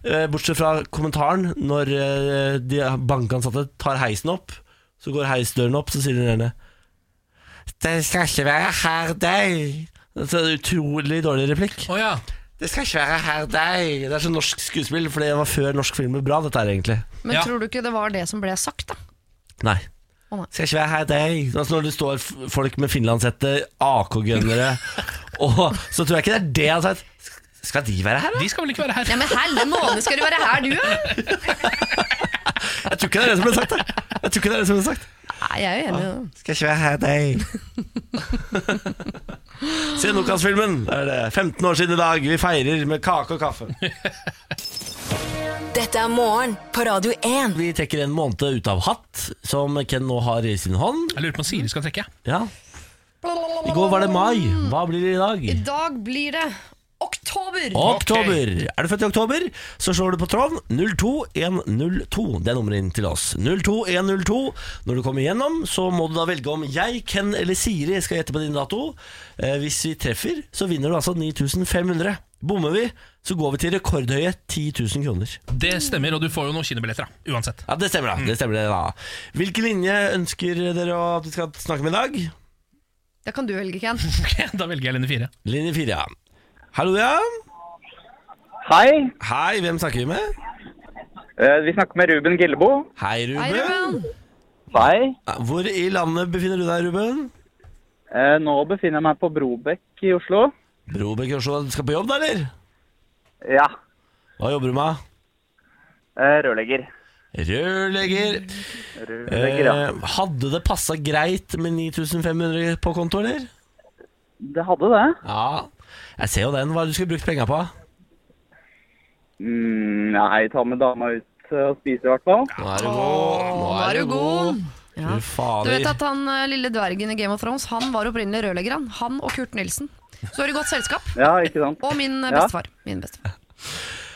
Speaker 2: Eh, Bortsett fra kommentaren når eh, de bankansatte tar heisen opp. Så går heisdøren opp, så sier den ene Det skal ikke være her deg. Det er en utrolig dårlig replikk.
Speaker 1: Å ja.
Speaker 2: Det skal ikke være her deg. Det er så norsk skuespill, for det var før norsk film ble bra, dette her egentlig.
Speaker 3: Men
Speaker 1: Ja.
Speaker 3: tror du ikke det var det som ble sagt, da?
Speaker 2: Nei.
Speaker 3: Å, nei.
Speaker 2: Det skal ikke være her deg. Altså når det står f- folk med finlandshette, AK-gunnere, og så tror jeg ikke det er det han har sagt. Sk- Skal de være her, da?
Speaker 1: De skal vel ikke være her?
Speaker 3: Ja, men helle måned skal du være her, du, ja?
Speaker 2: Jeg tror ikke det er det som ble sagt, da. Jeg tror ikke det er det som ble sagt.
Speaker 3: Nei, jeg er jo enig i det.
Speaker 2: Skal ikke være her deg. Se Nokas-filmen. Det er det. 15 år siden i dag. Vi feirer med kake og kaffe.
Speaker 4: Dette er morgen på Radio 1.
Speaker 2: Vi trekker en måned ut av hatt, som Ken nå har i sin hånd.
Speaker 1: Jeg lurer på om Siri skal trekke.
Speaker 2: Ja. I går var det mai. Hva blir det i dag?
Speaker 3: I dag blir det oktober!
Speaker 2: Oktober. Er du født i oktober, så slår du på tråden 02102. Det er nummeret inn til oss. 02102. Når du kommer igjennom, så må du da velge om jeg, Ken eller Siri skal gjette på din dato. Eh, hvis vi treffer, så vinner du altså 9500. Bommer vi, så går vi til rekordhøye 10 000 kroner.
Speaker 1: Det stemmer, og du får jo noen kinobilletter, da. Uansett.
Speaker 2: Ja, det stemmer, da. Det stemmer det da. Hvilken linje ønsker dere at vi skal snakke med i dag?
Speaker 3: Det kan du velge, Ken.
Speaker 1: Ok, Da velger jeg linje fire.
Speaker 2: Linje fire, ja. Hallo, ja.
Speaker 6: Hei,
Speaker 2: Hei, hvem snakker vi med?
Speaker 6: eh, vi snakker med Ruben Gillebo.
Speaker 2: Hei,
Speaker 3: Hei, Ruben.
Speaker 6: Hei.
Speaker 2: Eh, Hvor i landet befinner du deg, Ruben?
Speaker 6: Eh, Nå befinner jeg meg på Brobekk i Oslo.
Speaker 2: Robek i Oslo, du skal på jobb da, eller?
Speaker 6: Ja,
Speaker 2: Hva jobber du med?
Speaker 6: eh, rørlegger.
Speaker 2: Rørlegger.
Speaker 6: Rørlegger, ja.
Speaker 2: Eh, hadde det passa greit med 9500 på konto, eller?
Speaker 6: Det hadde det.
Speaker 2: Ja. Jeg ser jo den. Hva er det du skulle brukt penga på?
Speaker 6: Mm, nei, ta med dama ut eh, og spise i hvert fall.
Speaker 2: Nå er du god.
Speaker 3: Nå er du god.
Speaker 2: Fy
Speaker 3: Ja. Du vet
Speaker 2: fader.
Speaker 3: at han eh, lille dvergen i Game of Thrones Han var opprinnelig rørlegger, han. Han og Kurt Nilsen. Så er det godt selskap.
Speaker 6: Ja, ikke sant?
Speaker 3: Og min eh,
Speaker 6: Ja.
Speaker 3: bestefar. Min bestefar.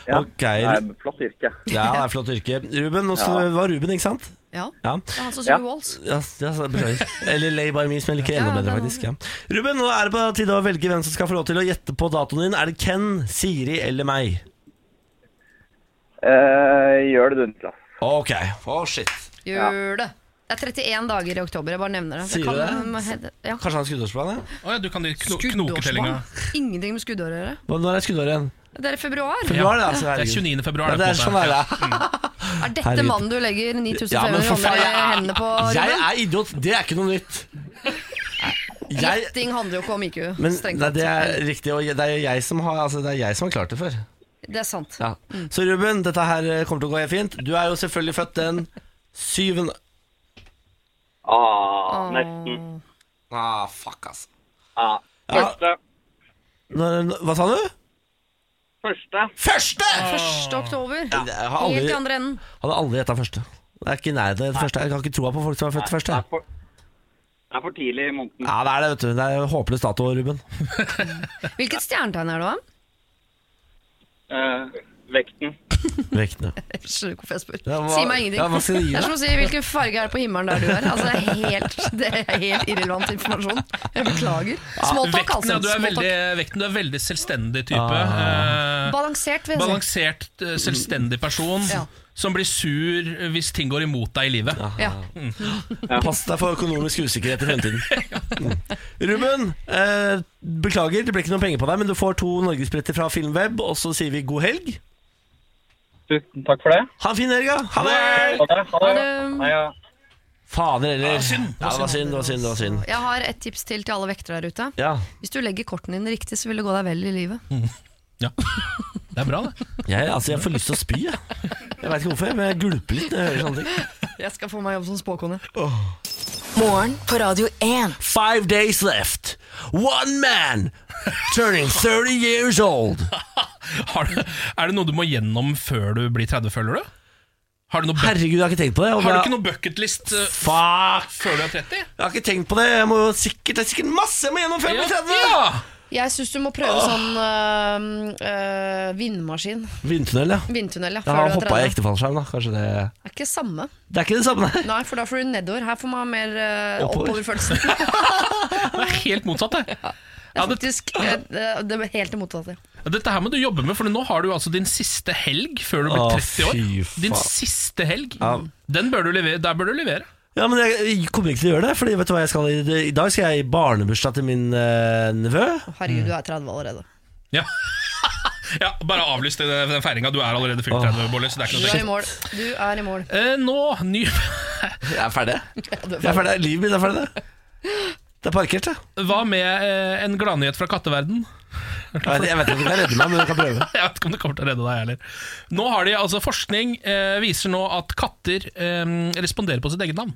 Speaker 6: Ja.
Speaker 2: Ok.
Speaker 6: Nei, flott yrke.
Speaker 2: Ja, det er flott yrke. Ruben, nå skal, det var Ruben, ikke sant?
Speaker 3: Ja.
Speaker 2: Ja.
Speaker 3: Det er han som
Speaker 6: Ja.
Speaker 3: skulle Walls.
Speaker 2: Ja, ja, så- beklager. Eller Lay by me, som jeg liker enda
Speaker 3: Ja,
Speaker 2: bedre,
Speaker 3: den-
Speaker 2: faktisk. Ja. Ruben, nå er det på tide å velge hvem som skal få lov til å gjette på datoen din. Er det Ken, Siri eller meg?
Speaker 6: Eh, gjør det du, Niklas.
Speaker 2: Ok. Oh, shit.
Speaker 3: Gjør det. Det er 31 dager i oktober, jeg bare nevner det.
Speaker 2: Sier
Speaker 3: kan, eh,
Speaker 2: du
Speaker 3: Ja.
Speaker 2: Kanskje han har skuddårsplan? ja?
Speaker 1: Å ja, du kan de kno knoketellinga.
Speaker 3: Skuddårsbarn. Ingenting med skuddår å gjøre.
Speaker 2: Hva- Når er skuddåret igjen?
Speaker 3: Det er i februar.
Speaker 2: Februar, det, altså.
Speaker 1: Det er 29. februar.
Speaker 2: Ja, det er sånn er det.
Speaker 3: Er dette
Speaker 2: Herregud.
Speaker 3: mannen du legger
Speaker 2: Ja, men
Speaker 3: 9500
Speaker 2: for faen,
Speaker 3: andre
Speaker 2: jeg er-
Speaker 3: hendene på?
Speaker 2: Jeg
Speaker 3: Ruben?
Speaker 2: er idiot. Det er ikke noe nytt. Jeg
Speaker 3: Gjetting handler jo ikke om IQ.
Speaker 2: men
Speaker 3: strengt
Speaker 2: nei,
Speaker 3: tatt.
Speaker 2: det er riktig, og det er jo jeg som har, altså, det er jeg som har klart det før.
Speaker 3: det er sant.
Speaker 2: Ja. Så Ruben, dette her eh, kommer til å gå helt fint. Du er jo selvfølgelig født den syvende
Speaker 6: Ah, nesten.
Speaker 2: Ah, fuck, ass.
Speaker 6: Ah.
Speaker 2: Ja.
Speaker 6: Første.
Speaker 2: Når- når- Hva sa du?
Speaker 6: Første.
Speaker 2: Første!
Speaker 3: 1. oktober.
Speaker 2: Jeg har
Speaker 3: Helt
Speaker 2: aldri,
Speaker 3: i andre enden.
Speaker 2: hadde aldri gjetta første. Det er ikke i nærheten av det første. Jeg har ikke troa på folk som er født først.
Speaker 6: Det
Speaker 2: jeg.
Speaker 6: er for, det er for tidlig i måneden.
Speaker 2: Ja, det er det, vet du. Det er håpløs dato, Ruben.
Speaker 3: Hvilket stjernetegn er du av?
Speaker 6: Eh, vekten.
Speaker 2: Vektene.
Speaker 3: Jeg skjønner ikke hvorfor jeg spør.
Speaker 2: Ja, hva-
Speaker 3: si meg ingenting.
Speaker 2: ja, hva skal jeg gi
Speaker 3: det er
Speaker 2: deg?
Speaker 3: som å si hvilken farge er det på himmelen der du er. Altså, det, er helt, det er helt irrelevant informasjon. Jeg beklager. Smalltalk,
Speaker 1: Vekten,
Speaker 3: altså.
Speaker 1: ja, du er
Speaker 3: Small talk.
Speaker 1: veldig, vekten, du er veldig selvstendig type.
Speaker 2: Ah,
Speaker 1: Eh,
Speaker 3: Balansert, vil jeg si.
Speaker 1: balansert, eh, selvstendig person
Speaker 3: Ja.
Speaker 1: som blir sur hvis ting går imot deg i livet.
Speaker 3: Ja.
Speaker 2: Pass deg for økonomisk usikkerhet i fremtiden. Mm. Ruben, eh, beklager, det ble ikke noen penger på deg, men du får to norgesbretter fra Filmweb, og så sier vi god helg.
Speaker 6: Tusen takk for det.
Speaker 2: Ha en fin helg, da! Ha det!
Speaker 6: Ha det. Ha det.
Speaker 3: Um,
Speaker 6: Nei, ja.
Speaker 2: Fader heller. Ja, det var synd, det var synd. det var synd
Speaker 3: Jeg har et tips til til alle vektere der ute.
Speaker 2: Ja,
Speaker 3: Hvis du legger kortene dine riktig, så vil det gå deg vel i
Speaker 2: Mm.
Speaker 3: livet.
Speaker 1: Det er bra, det.
Speaker 2: jeg, altså, jeg får lyst til å spy, jeg. Jeg veit ikke hvorfor, men jeg gulper litt når jeg hører sånne ting.
Speaker 3: Jeg skal få meg jobb som spåkone.
Speaker 4: Morgen på Radio 1.
Speaker 2: Five days left. One man turning 30 years old.
Speaker 1: Har du, er det noe du må gjennom før du blir 30, føler du? Har du, noe buck-
Speaker 2: Herregud, jeg har ikke tenkt på det. og
Speaker 1: har du
Speaker 2: jeg-
Speaker 1: ikke noe bucketlist eh,
Speaker 2: Fuck!
Speaker 1: før du er 30?
Speaker 2: Jeg har ikke tenkt på det. Jeg må jo sikkert, det er sikkert masse jeg må gjennom før jeg blir 30.
Speaker 1: Ja!
Speaker 3: Jeg syns du må prøve sånn øh, øh, vindmaskin.
Speaker 2: Vindtunnel, ja.
Speaker 3: Vindtunnel, ja.
Speaker 2: Jeg
Speaker 3: Før
Speaker 2: har
Speaker 3: du er
Speaker 2: hoppa i
Speaker 3: 30.
Speaker 2: ektefallskjerm, da. Kanskje det
Speaker 3: Det er ikke samme.
Speaker 2: Det er ikke det samme, nei.
Speaker 3: Nei, for da får du nedover. Her får man mer øh,
Speaker 2: Oppover.
Speaker 3: oppoverfølelsen.
Speaker 1: Det er helt motsatt, det.
Speaker 3: Det
Speaker 1: Ja,
Speaker 3: er
Speaker 1: det,
Speaker 3: faktisk eh, det- det er helt det motsatte.
Speaker 1: dette her må du jobbe med, for nå har du altså din siste helg før du blir
Speaker 2: Å,
Speaker 1: 30 år.
Speaker 2: fy faen.
Speaker 1: Din siste helg. Den bør du levere, der bør du levere.
Speaker 2: Ja, men jeg jeg kommer ikke til å gjøre det. Fordi vet du hva jeg skal i, I dag skal jeg i barnebursdag til min eh, nevø.
Speaker 3: Herregud, du er 30 allerede.
Speaker 1: Ja. ja, bare avlys det- den feiringa. Du er allerede fylt 30, Bolle, så det er
Speaker 3: Du
Speaker 1: ikke noe
Speaker 3: er i
Speaker 1: tenkt.
Speaker 3: mål. Du er i mål.
Speaker 1: Eh, nå, ny
Speaker 2: Jeg er ferdig. Jeg er ferdig. Livet mitt er ferdig. det. Det er parkert, det.
Speaker 1: Hva med eh, en gladnyhet fra katteverden?
Speaker 2: Jeg vet, jeg vet ikke om jeg kan redde meg, men jeg kan prøve.
Speaker 1: Jeg vet ikke om det kommer til å redde deg heller. Nå har de, altså Forskning eh, viser nå at katter eh, responderer på sitt eget navn.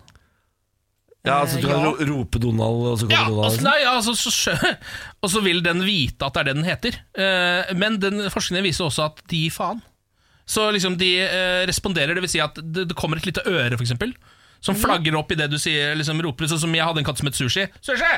Speaker 2: Ja, altså Du kan ro- rope Donald, og så kommer
Speaker 1: Ja,
Speaker 2: Donald.
Speaker 1: altså, nei, altså, så, skjø- og så vil den vite at det er det den heter. Eh, men den forskningen viser også at de faen. Så liksom de eh, responderer, dvs. Si at det, det kommer et lite øre, f.eks.,
Speaker 2: Mhm.
Speaker 1: som flagger opp idet du sier, liksom, roper. Sånn som jeg hadde en katt som het Sushi. Sushi!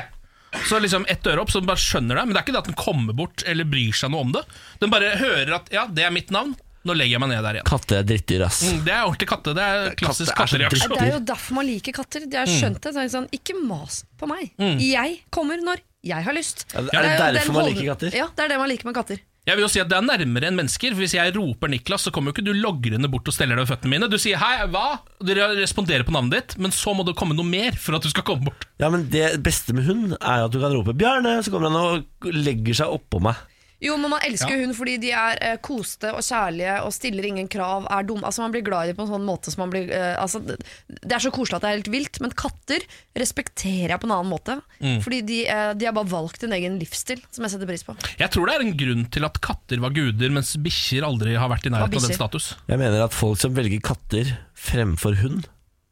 Speaker 1: Så liksom ett øre opp, så den bare skjønner det. Men det er ikke det at den kommer bort eller bryr seg noe om det. Den bare hører at 'ja, det er mitt navn', nå legger jeg meg ned der igjen.
Speaker 2: Katter er drittdyr, ass.
Speaker 1: Mm, Det er ordentlig katte. Det er klassisk
Speaker 2: Katte er så
Speaker 1: kattereaksjon.
Speaker 2: dritt.
Speaker 3: Det er jo derfor man liker katter. De
Speaker 2: Mm.
Speaker 3: har skjønt det. Så er det sånn, ikke mas på meg. Jeg kommer når jeg har lyst.
Speaker 2: Ja, er det
Speaker 3: jo
Speaker 2: derfor
Speaker 3: den
Speaker 2: man
Speaker 3: holden-
Speaker 2: liker katter?
Speaker 3: Ja, det er det man liker med katter.
Speaker 1: Jeg vil jo si at Det er nærmere enn mennesker. for Hvis jeg roper Niklas, så kommer jo ikke du logrende bort og steller deg ved føttene mine. Du sier 'hei, hva?' og Du responderer på navnet ditt, men så må det komme noe mer for at du skal komme bort.
Speaker 2: Ja, men Det beste med hund er jo at du kan rope 'Bjarne', så kommer han og legger seg oppå meg.
Speaker 3: Jo, men man elsker
Speaker 1: Ja.
Speaker 3: jo hund fordi de er eh, koste og kjærlige og stiller ingen krav, er dumme. Altså, man blir glad i dem på en sånn måte som man blir eh, altså, det, det er så koselig at det er helt vilt, men katter respekterer jeg på en annen måte. Fordi de, eh, de har bare valgt en egen livsstil som jeg setter pris på.
Speaker 1: Jeg tror det er en grunn til at katter var guder, mens bikkjer aldri har vært i nærheten av den
Speaker 3: bikkjer.
Speaker 1: status.
Speaker 2: Jeg mener at folk som velger katter fremfor hund,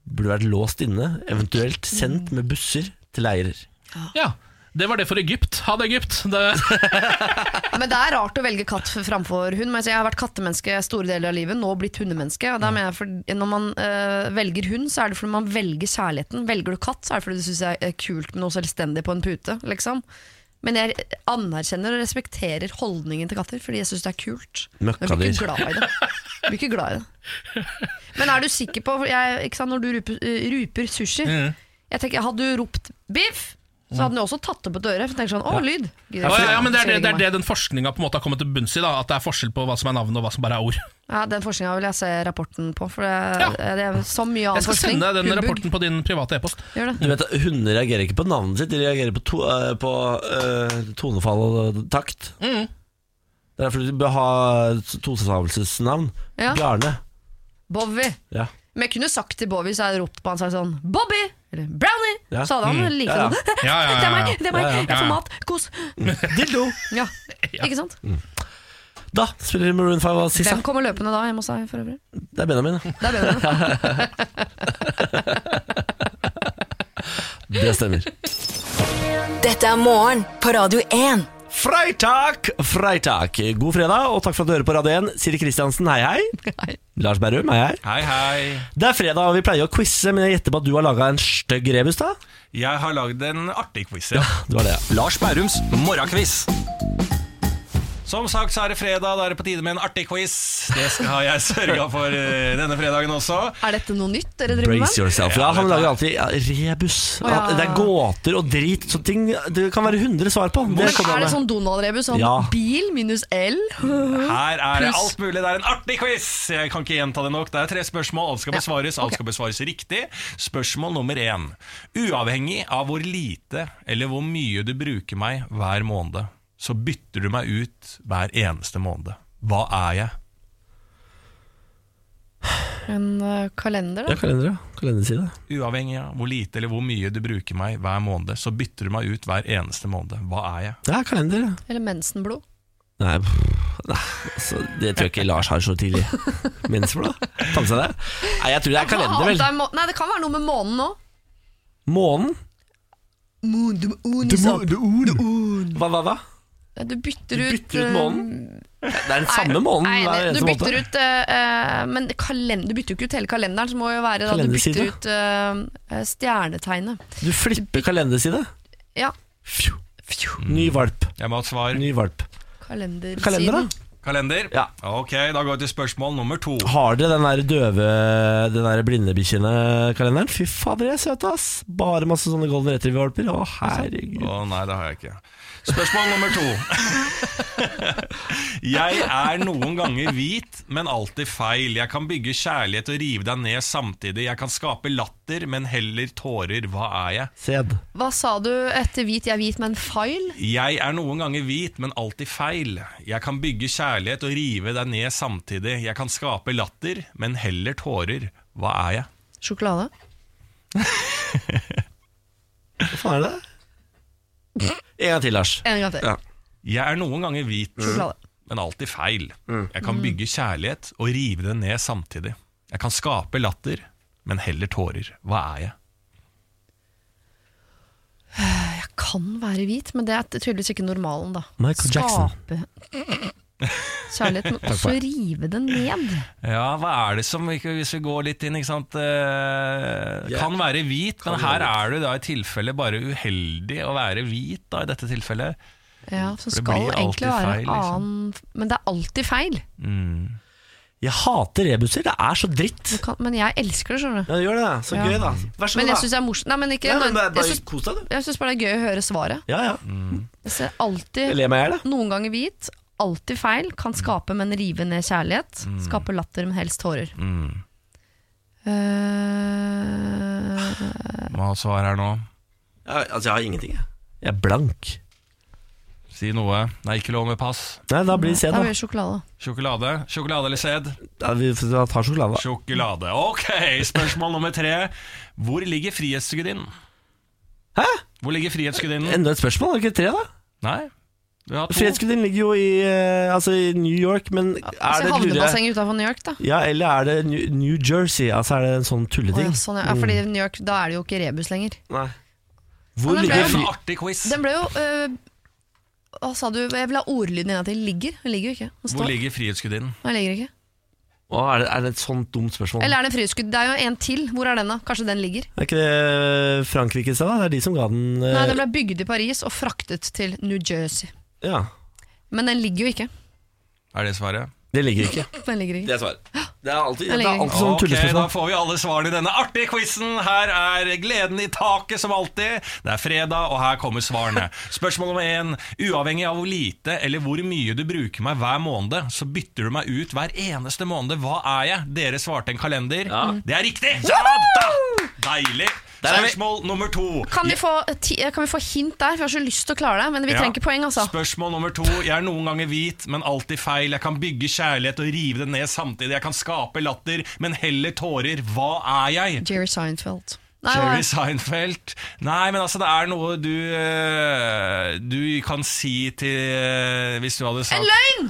Speaker 2: burde vært låst inne, eventuelt sendt med busser til leirer.
Speaker 1: Ja, Det var det for Egypt. Ha det, Egypt! Det,
Speaker 3: Men det er rart å velge katt framfor hund. Men altså, jeg har vært kattemenneske store deler av livet, nå blitt hundemenneske. Og da mener jeg for, når man øh, velger hund, så er det fordi man velger kjærligheten. Velger du katt, så er det fordi du syns det er eh, kult med noe selvstendig på en pute. Liksom. Men jeg anerkjenner og respekterer holdningen til katter, fordi jeg syns det er kult. Men Jeg blir
Speaker 2: Møkkadyr.
Speaker 3: ikke glad i det. Jeg blir ikke glad i det. Men er du sikker på jeg, ikke sant, Når du ruper, øh, ruper sushi jeg tenker, Hadde du ropt 'biff', så hadde den jo også tatt det på et øre. for tenker sånn, å, lyd. Gidder
Speaker 1: ja,
Speaker 3: ikke.
Speaker 1: ja, ja, men det er det,
Speaker 3: Skjønner
Speaker 1: det, er
Speaker 3: meg.
Speaker 1: det den forskninga på en måte har kommet til bunns i. da At det er forskjell på hva som er navn og hva som bare er ord.
Speaker 3: Ja, Den forskninga vil jeg se rapporten på, for det,
Speaker 1: Ja.
Speaker 3: det er så mye
Speaker 1: Jeg
Speaker 3: annen
Speaker 1: skal
Speaker 3: forskning.
Speaker 1: sende deg den
Speaker 3: Humbug.
Speaker 1: rapporten på din private e-post.
Speaker 3: Gjør det.
Speaker 2: Du vet, at Hunder reagerer ikke på navnet sitt, de reagerer på, to, eh, på eh, tonefall og takt.
Speaker 3: Mm.
Speaker 2: Det er derfor du bør ha tostavelsesnavn.
Speaker 3: Ja.
Speaker 2: Bjarne.
Speaker 3: Bowie.
Speaker 2: Ja.
Speaker 3: Men jeg kunne sagt til Bowie, så hadde jeg ropt på han sagt sånn Bobby! Eller Brownie!
Speaker 2: Ja. Mm.
Speaker 3: Så hadde han like sånn,
Speaker 2: Ja, ja.
Speaker 3: det.
Speaker 1: Ja, ja, ja, ja.
Speaker 3: Det er meg! Det er meg!
Speaker 2: Ja, ja.
Speaker 3: Jeg får mat! Kos!
Speaker 2: Dildo!
Speaker 3: Ja. Ikke sant?
Speaker 2: Da spiller vi Maroon 5 av Sissa.
Speaker 3: Hvem kommer løpende da hjemme hos deg for øvrig?
Speaker 2: Det er Benjamin. ja.
Speaker 3: Det er bedre.
Speaker 2: Det stemmer.
Speaker 4: Dette er morgen på Radio 1.
Speaker 2: Freitag! Freitag. God fredag, og takk for at du hører på Radio 1. Siri Kristiansen, hei hei.
Speaker 3: Nei.
Speaker 2: Lars Berrum, hei hei.
Speaker 7: Hei, hei.
Speaker 2: Det er fredag, og vi pleier å quize, men jeg gjetter på at du har laga en stygg rebus, da?
Speaker 7: Jeg har lagd en artig quiz. Ja.
Speaker 2: Du har det, ja.
Speaker 7: Lars Bærums morgenkviss. Som sagt så er det fredag, da er det på tide med en artig quiz. Det skal har jeg sørga for eh, denne fredagen også.
Speaker 3: Er dette noe nytt dere driver
Speaker 2: Brace
Speaker 3: med?
Speaker 2: yourself. Ja, han lager alltid ja, rebus.
Speaker 3: Å, ja.
Speaker 2: Det er gåter og drit. Sånne ting det kan være 100 svar på. Det
Speaker 3: Men
Speaker 2: kommer
Speaker 3: er
Speaker 2: han
Speaker 3: det
Speaker 2: med.
Speaker 3: sånn Donald-rebus? Sånn
Speaker 2: Ja.
Speaker 3: bil minus L?
Speaker 7: Her er det
Speaker 3: Pluss.
Speaker 7: alt mulig. Det er en artig quiz! Jeg kan ikke gjenta det nok. Det er tre spørsmål. Alt skal besvares. Alt skal besvares riktig. Spørsmål nummer én. Uavhengig av hvor lite eller hvor mye du bruker meg hver måned, så bytter du meg ut hver eneste måned. Hva er jeg?
Speaker 3: En øh, kalender,
Speaker 2: Ja,
Speaker 3: da?
Speaker 2: kalender, ja. Kalenderside.
Speaker 7: Uavhengig av hvor lite eller hvor mye du bruker meg hver måned, så bytter du meg ut hver eneste måned. Hva er jeg?
Speaker 2: Ja, kalender, ja.
Speaker 3: Eller mensenblod?
Speaker 2: Nei, pff, nei altså, det tror jeg ikke Lars har så tidlig. Mensblå? Ta med seg det. Nei, jeg tror det er kalender,
Speaker 3: Faen, det
Speaker 2: vel.
Speaker 3: er må- Nei, det kan være noe med månen nå.
Speaker 2: Månen? Hva, hva, hva?
Speaker 3: Du bytter
Speaker 2: Du
Speaker 3: ut
Speaker 2: bytter
Speaker 3: øh,
Speaker 2: ut månen? Det er den
Speaker 3: Nei,
Speaker 2: samme månen
Speaker 3: nei,
Speaker 2: hver
Speaker 3: nei,
Speaker 2: eneste
Speaker 3: Du bytter
Speaker 2: måned.
Speaker 3: ut eh, eh, Men kalend- du bytter jo ikke ut hele kalenderen, så må jo være da, du bytter
Speaker 2: Kalenderside.
Speaker 3: ut eh, eh, stjernetegnet.
Speaker 2: Du flipper kalenderside.
Speaker 3: Ja.
Speaker 2: Fju.
Speaker 3: Fju,
Speaker 2: Ny valp.
Speaker 7: Jeg må ha et svar.
Speaker 2: Ny valp.
Speaker 3: Kalendersiden.
Speaker 2: Kalender, da?
Speaker 7: Kalender?
Speaker 2: Ja.
Speaker 7: Ok, da går vi til spørsmål nummer to.
Speaker 2: Har dere den der døve Den der blindebikkjene-kalenderen? Fy fader, jeg er søt, ass! Bare masse sånne golden retriever-valper. Å, herregud.
Speaker 7: Å nei, det har jeg ikke. Spørsmål nummer to. jeg er noen ganger hvit, men alltid feil. Jeg kan bygge kjærlighet og rive deg ned samtidig. Jeg kan skape latter, men heller tårer. Hva er jeg?
Speaker 2: Sæd.
Speaker 3: Hva sa du etter hvit? Jeg er hvit, men feil?
Speaker 7: Jeg er noen ganger hvit, men alltid feil. Jeg kan bygge kjærlighet og rive deg ned samtidig. Jeg kan skape latter, men heller tårer. Hva er jeg?
Speaker 3: Sjokolade?
Speaker 2: Hva faen er det? En gang til, Lars.
Speaker 3: En gang til.
Speaker 2: Ja.
Speaker 7: Jeg er noen ganger hvit,
Speaker 3: Mm. Sjokolade.
Speaker 7: men alltid feil. Jeg kan bygge kjærlighet og rive det ned samtidig. Jeg kan skape latter, men heller tårer. Hva er jeg?
Speaker 3: Jeg kan være hvit, men det er tydeligvis ikke normalen, da.
Speaker 2: Michael Jackson.
Speaker 3: Skape kjærlighet, men også rive den ned.
Speaker 7: Ja, hva er det som ikke- Hvis vi går litt inn, ikke sant
Speaker 2: Ja.
Speaker 7: eh, Kan være hvit, men
Speaker 2: Kan
Speaker 7: her
Speaker 2: være
Speaker 7: er du da i tilfelle bare uheldig å være hvit, da, i dette tilfellet.
Speaker 3: Ja, så
Speaker 7: det
Speaker 3: skal
Speaker 7: blir
Speaker 3: egentlig
Speaker 7: alltid
Speaker 3: være
Speaker 7: feil, liksom.
Speaker 3: annen Men det er alltid feil.
Speaker 2: Jeg hater rebuser. Det er så dritt.
Speaker 3: Du kan, men jeg elsker det, skjønner du.
Speaker 2: Ja, du gjør det. da. Så
Speaker 3: Ja.
Speaker 2: gøy, da. Vær så
Speaker 3: Men
Speaker 2: god,
Speaker 3: jeg
Speaker 2: da.
Speaker 3: syns det er morsomt. Nei, men ikke
Speaker 2: Ja, men bare,
Speaker 3: jeg
Speaker 2: bare
Speaker 3: synes-
Speaker 2: kos deg, du.
Speaker 3: Jeg syns bare det er gøy å høre svaret.
Speaker 2: Ja, ja.
Speaker 3: Jeg ser
Speaker 2: Jeg
Speaker 3: alltid
Speaker 2: ler meg i hjel, jeg.
Speaker 3: noen ganger hvit, alltid feil, kan skape, men rive ned kjærlighet. Skape latter, men helst tårer. Eh,
Speaker 7: Hva svar er nå?
Speaker 2: Ja, Altså, jeg har ingenting, jeg. Jeg er blank.
Speaker 7: Si noe. Nei, ikke lov med pass.
Speaker 2: Nei, da blir det sæd,
Speaker 3: Da
Speaker 2: da.
Speaker 3: blir det sjokolade.
Speaker 7: Sjokolade. Sjokolade eller sæd?
Speaker 2: Ja, vi får ta sjokolade. da.
Speaker 7: Sjokolade. Ok, spørsmål nummer tre. Hvor ligger Frihetsgudinnen?
Speaker 2: Hæ?
Speaker 7: Hvor ligger Frihetsgudinnen?
Speaker 2: Enda et spørsmål, er det ikke tre, da?
Speaker 7: Nei, vi har to.
Speaker 2: Frihetsgudinnen ligger jo i, eh, altså, i New York, men
Speaker 3: Så
Speaker 2: er det lure
Speaker 3: havnebassenget utenfor New York, da.
Speaker 2: Ja, eller er det New- New Jersey? Altså er det en sånn
Speaker 3: Å, ja,
Speaker 2: tulleting?
Speaker 3: sånn, ja. Ja, fordi
Speaker 2: Mm.
Speaker 3: New York, da er det jo ikke rebus lenger.
Speaker 2: Nei. Hvor
Speaker 3: Ja, det
Speaker 7: Det
Speaker 2: ligger
Speaker 7: er en
Speaker 2: fri...
Speaker 7: artig quiz.
Speaker 3: Den ble jo øh, Hva sa du? Jeg vil ha ordlyden en gang til. Ligger? Den ligger jo ikke. Den
Speaker 7: Hvor
Speaker 3: står.
Speaker 7: ligger Frihetsgudinnen?
Speaker 3: Nei, den ligger ikke.
Speaker 2: Å, er, det, er det et sånt dumt spørsmål?
Speaker 3: Eller er det fryskudd? Det er jo en til. Hvor er den, da? Kanskje den ligger?
Speaker 2: Er ikke det eh, Frankrike i sted, da? Det er de som ga den eh,
Speaker 3: Nei, den ble bygd i Paris og fraktet til New Jersey.
Speaker 2: Ja.
Speaker 3: Men den ligger jo ikke.
Speaker 7: Er det svaret?
Speaker 2: Det ligger ikke.
Speaker 3: Den ligger ikke.
Speaker 2: er svaret. Det er alltid,
Speaker 3: Den
Speaker 2: det
Speaker 3: ligger
Speaker 2: er
Speaker 3: ikke.
Speaker 2: alltid sånn
Speaker 7: Ok, da
Speaker 2: tullespørsmål.
Speaker 7: får vi alle svarene i denne artige quizen. Her er gleden i taket som alltid. Det er fredag, og her kommer svarene. Spørsmål nummer én. Uavhengig av hvor lite eller hvor mye du bruker meg hver måned, så bytter du meg ut hver eneste måned. Hva er jeg? Dere svarte en kalender. Det er riktig! Ja da! Deilig.
Speaker 2: er vi.
Speaker 7: Spørsmål nummer to.
Speaker 3: Kan vi, få, ti, eh, kan vi få hint der? For jeg har så lyst til å klare det, men vi
Speaker 7: Ja.
Speaker 3: trenger ikke poeng, altså.
Speaker 7: Spørsmål nummer to. Jeg er noen ganger hvit, men alltid feil. Jeg kan bygge kjærlighet og rive det ned samtidig. Jeg kan skape latter, men heller tårer. Hva er jeg?
Speaker 3: Jerry Seinfeld. Nei, hva-
Speaker 7: Jerry Seinfeld. Nei, men altså, det er noe du eh, Du kan si til eh, Hvis du hadde sagt
Speaker 3: en løgn!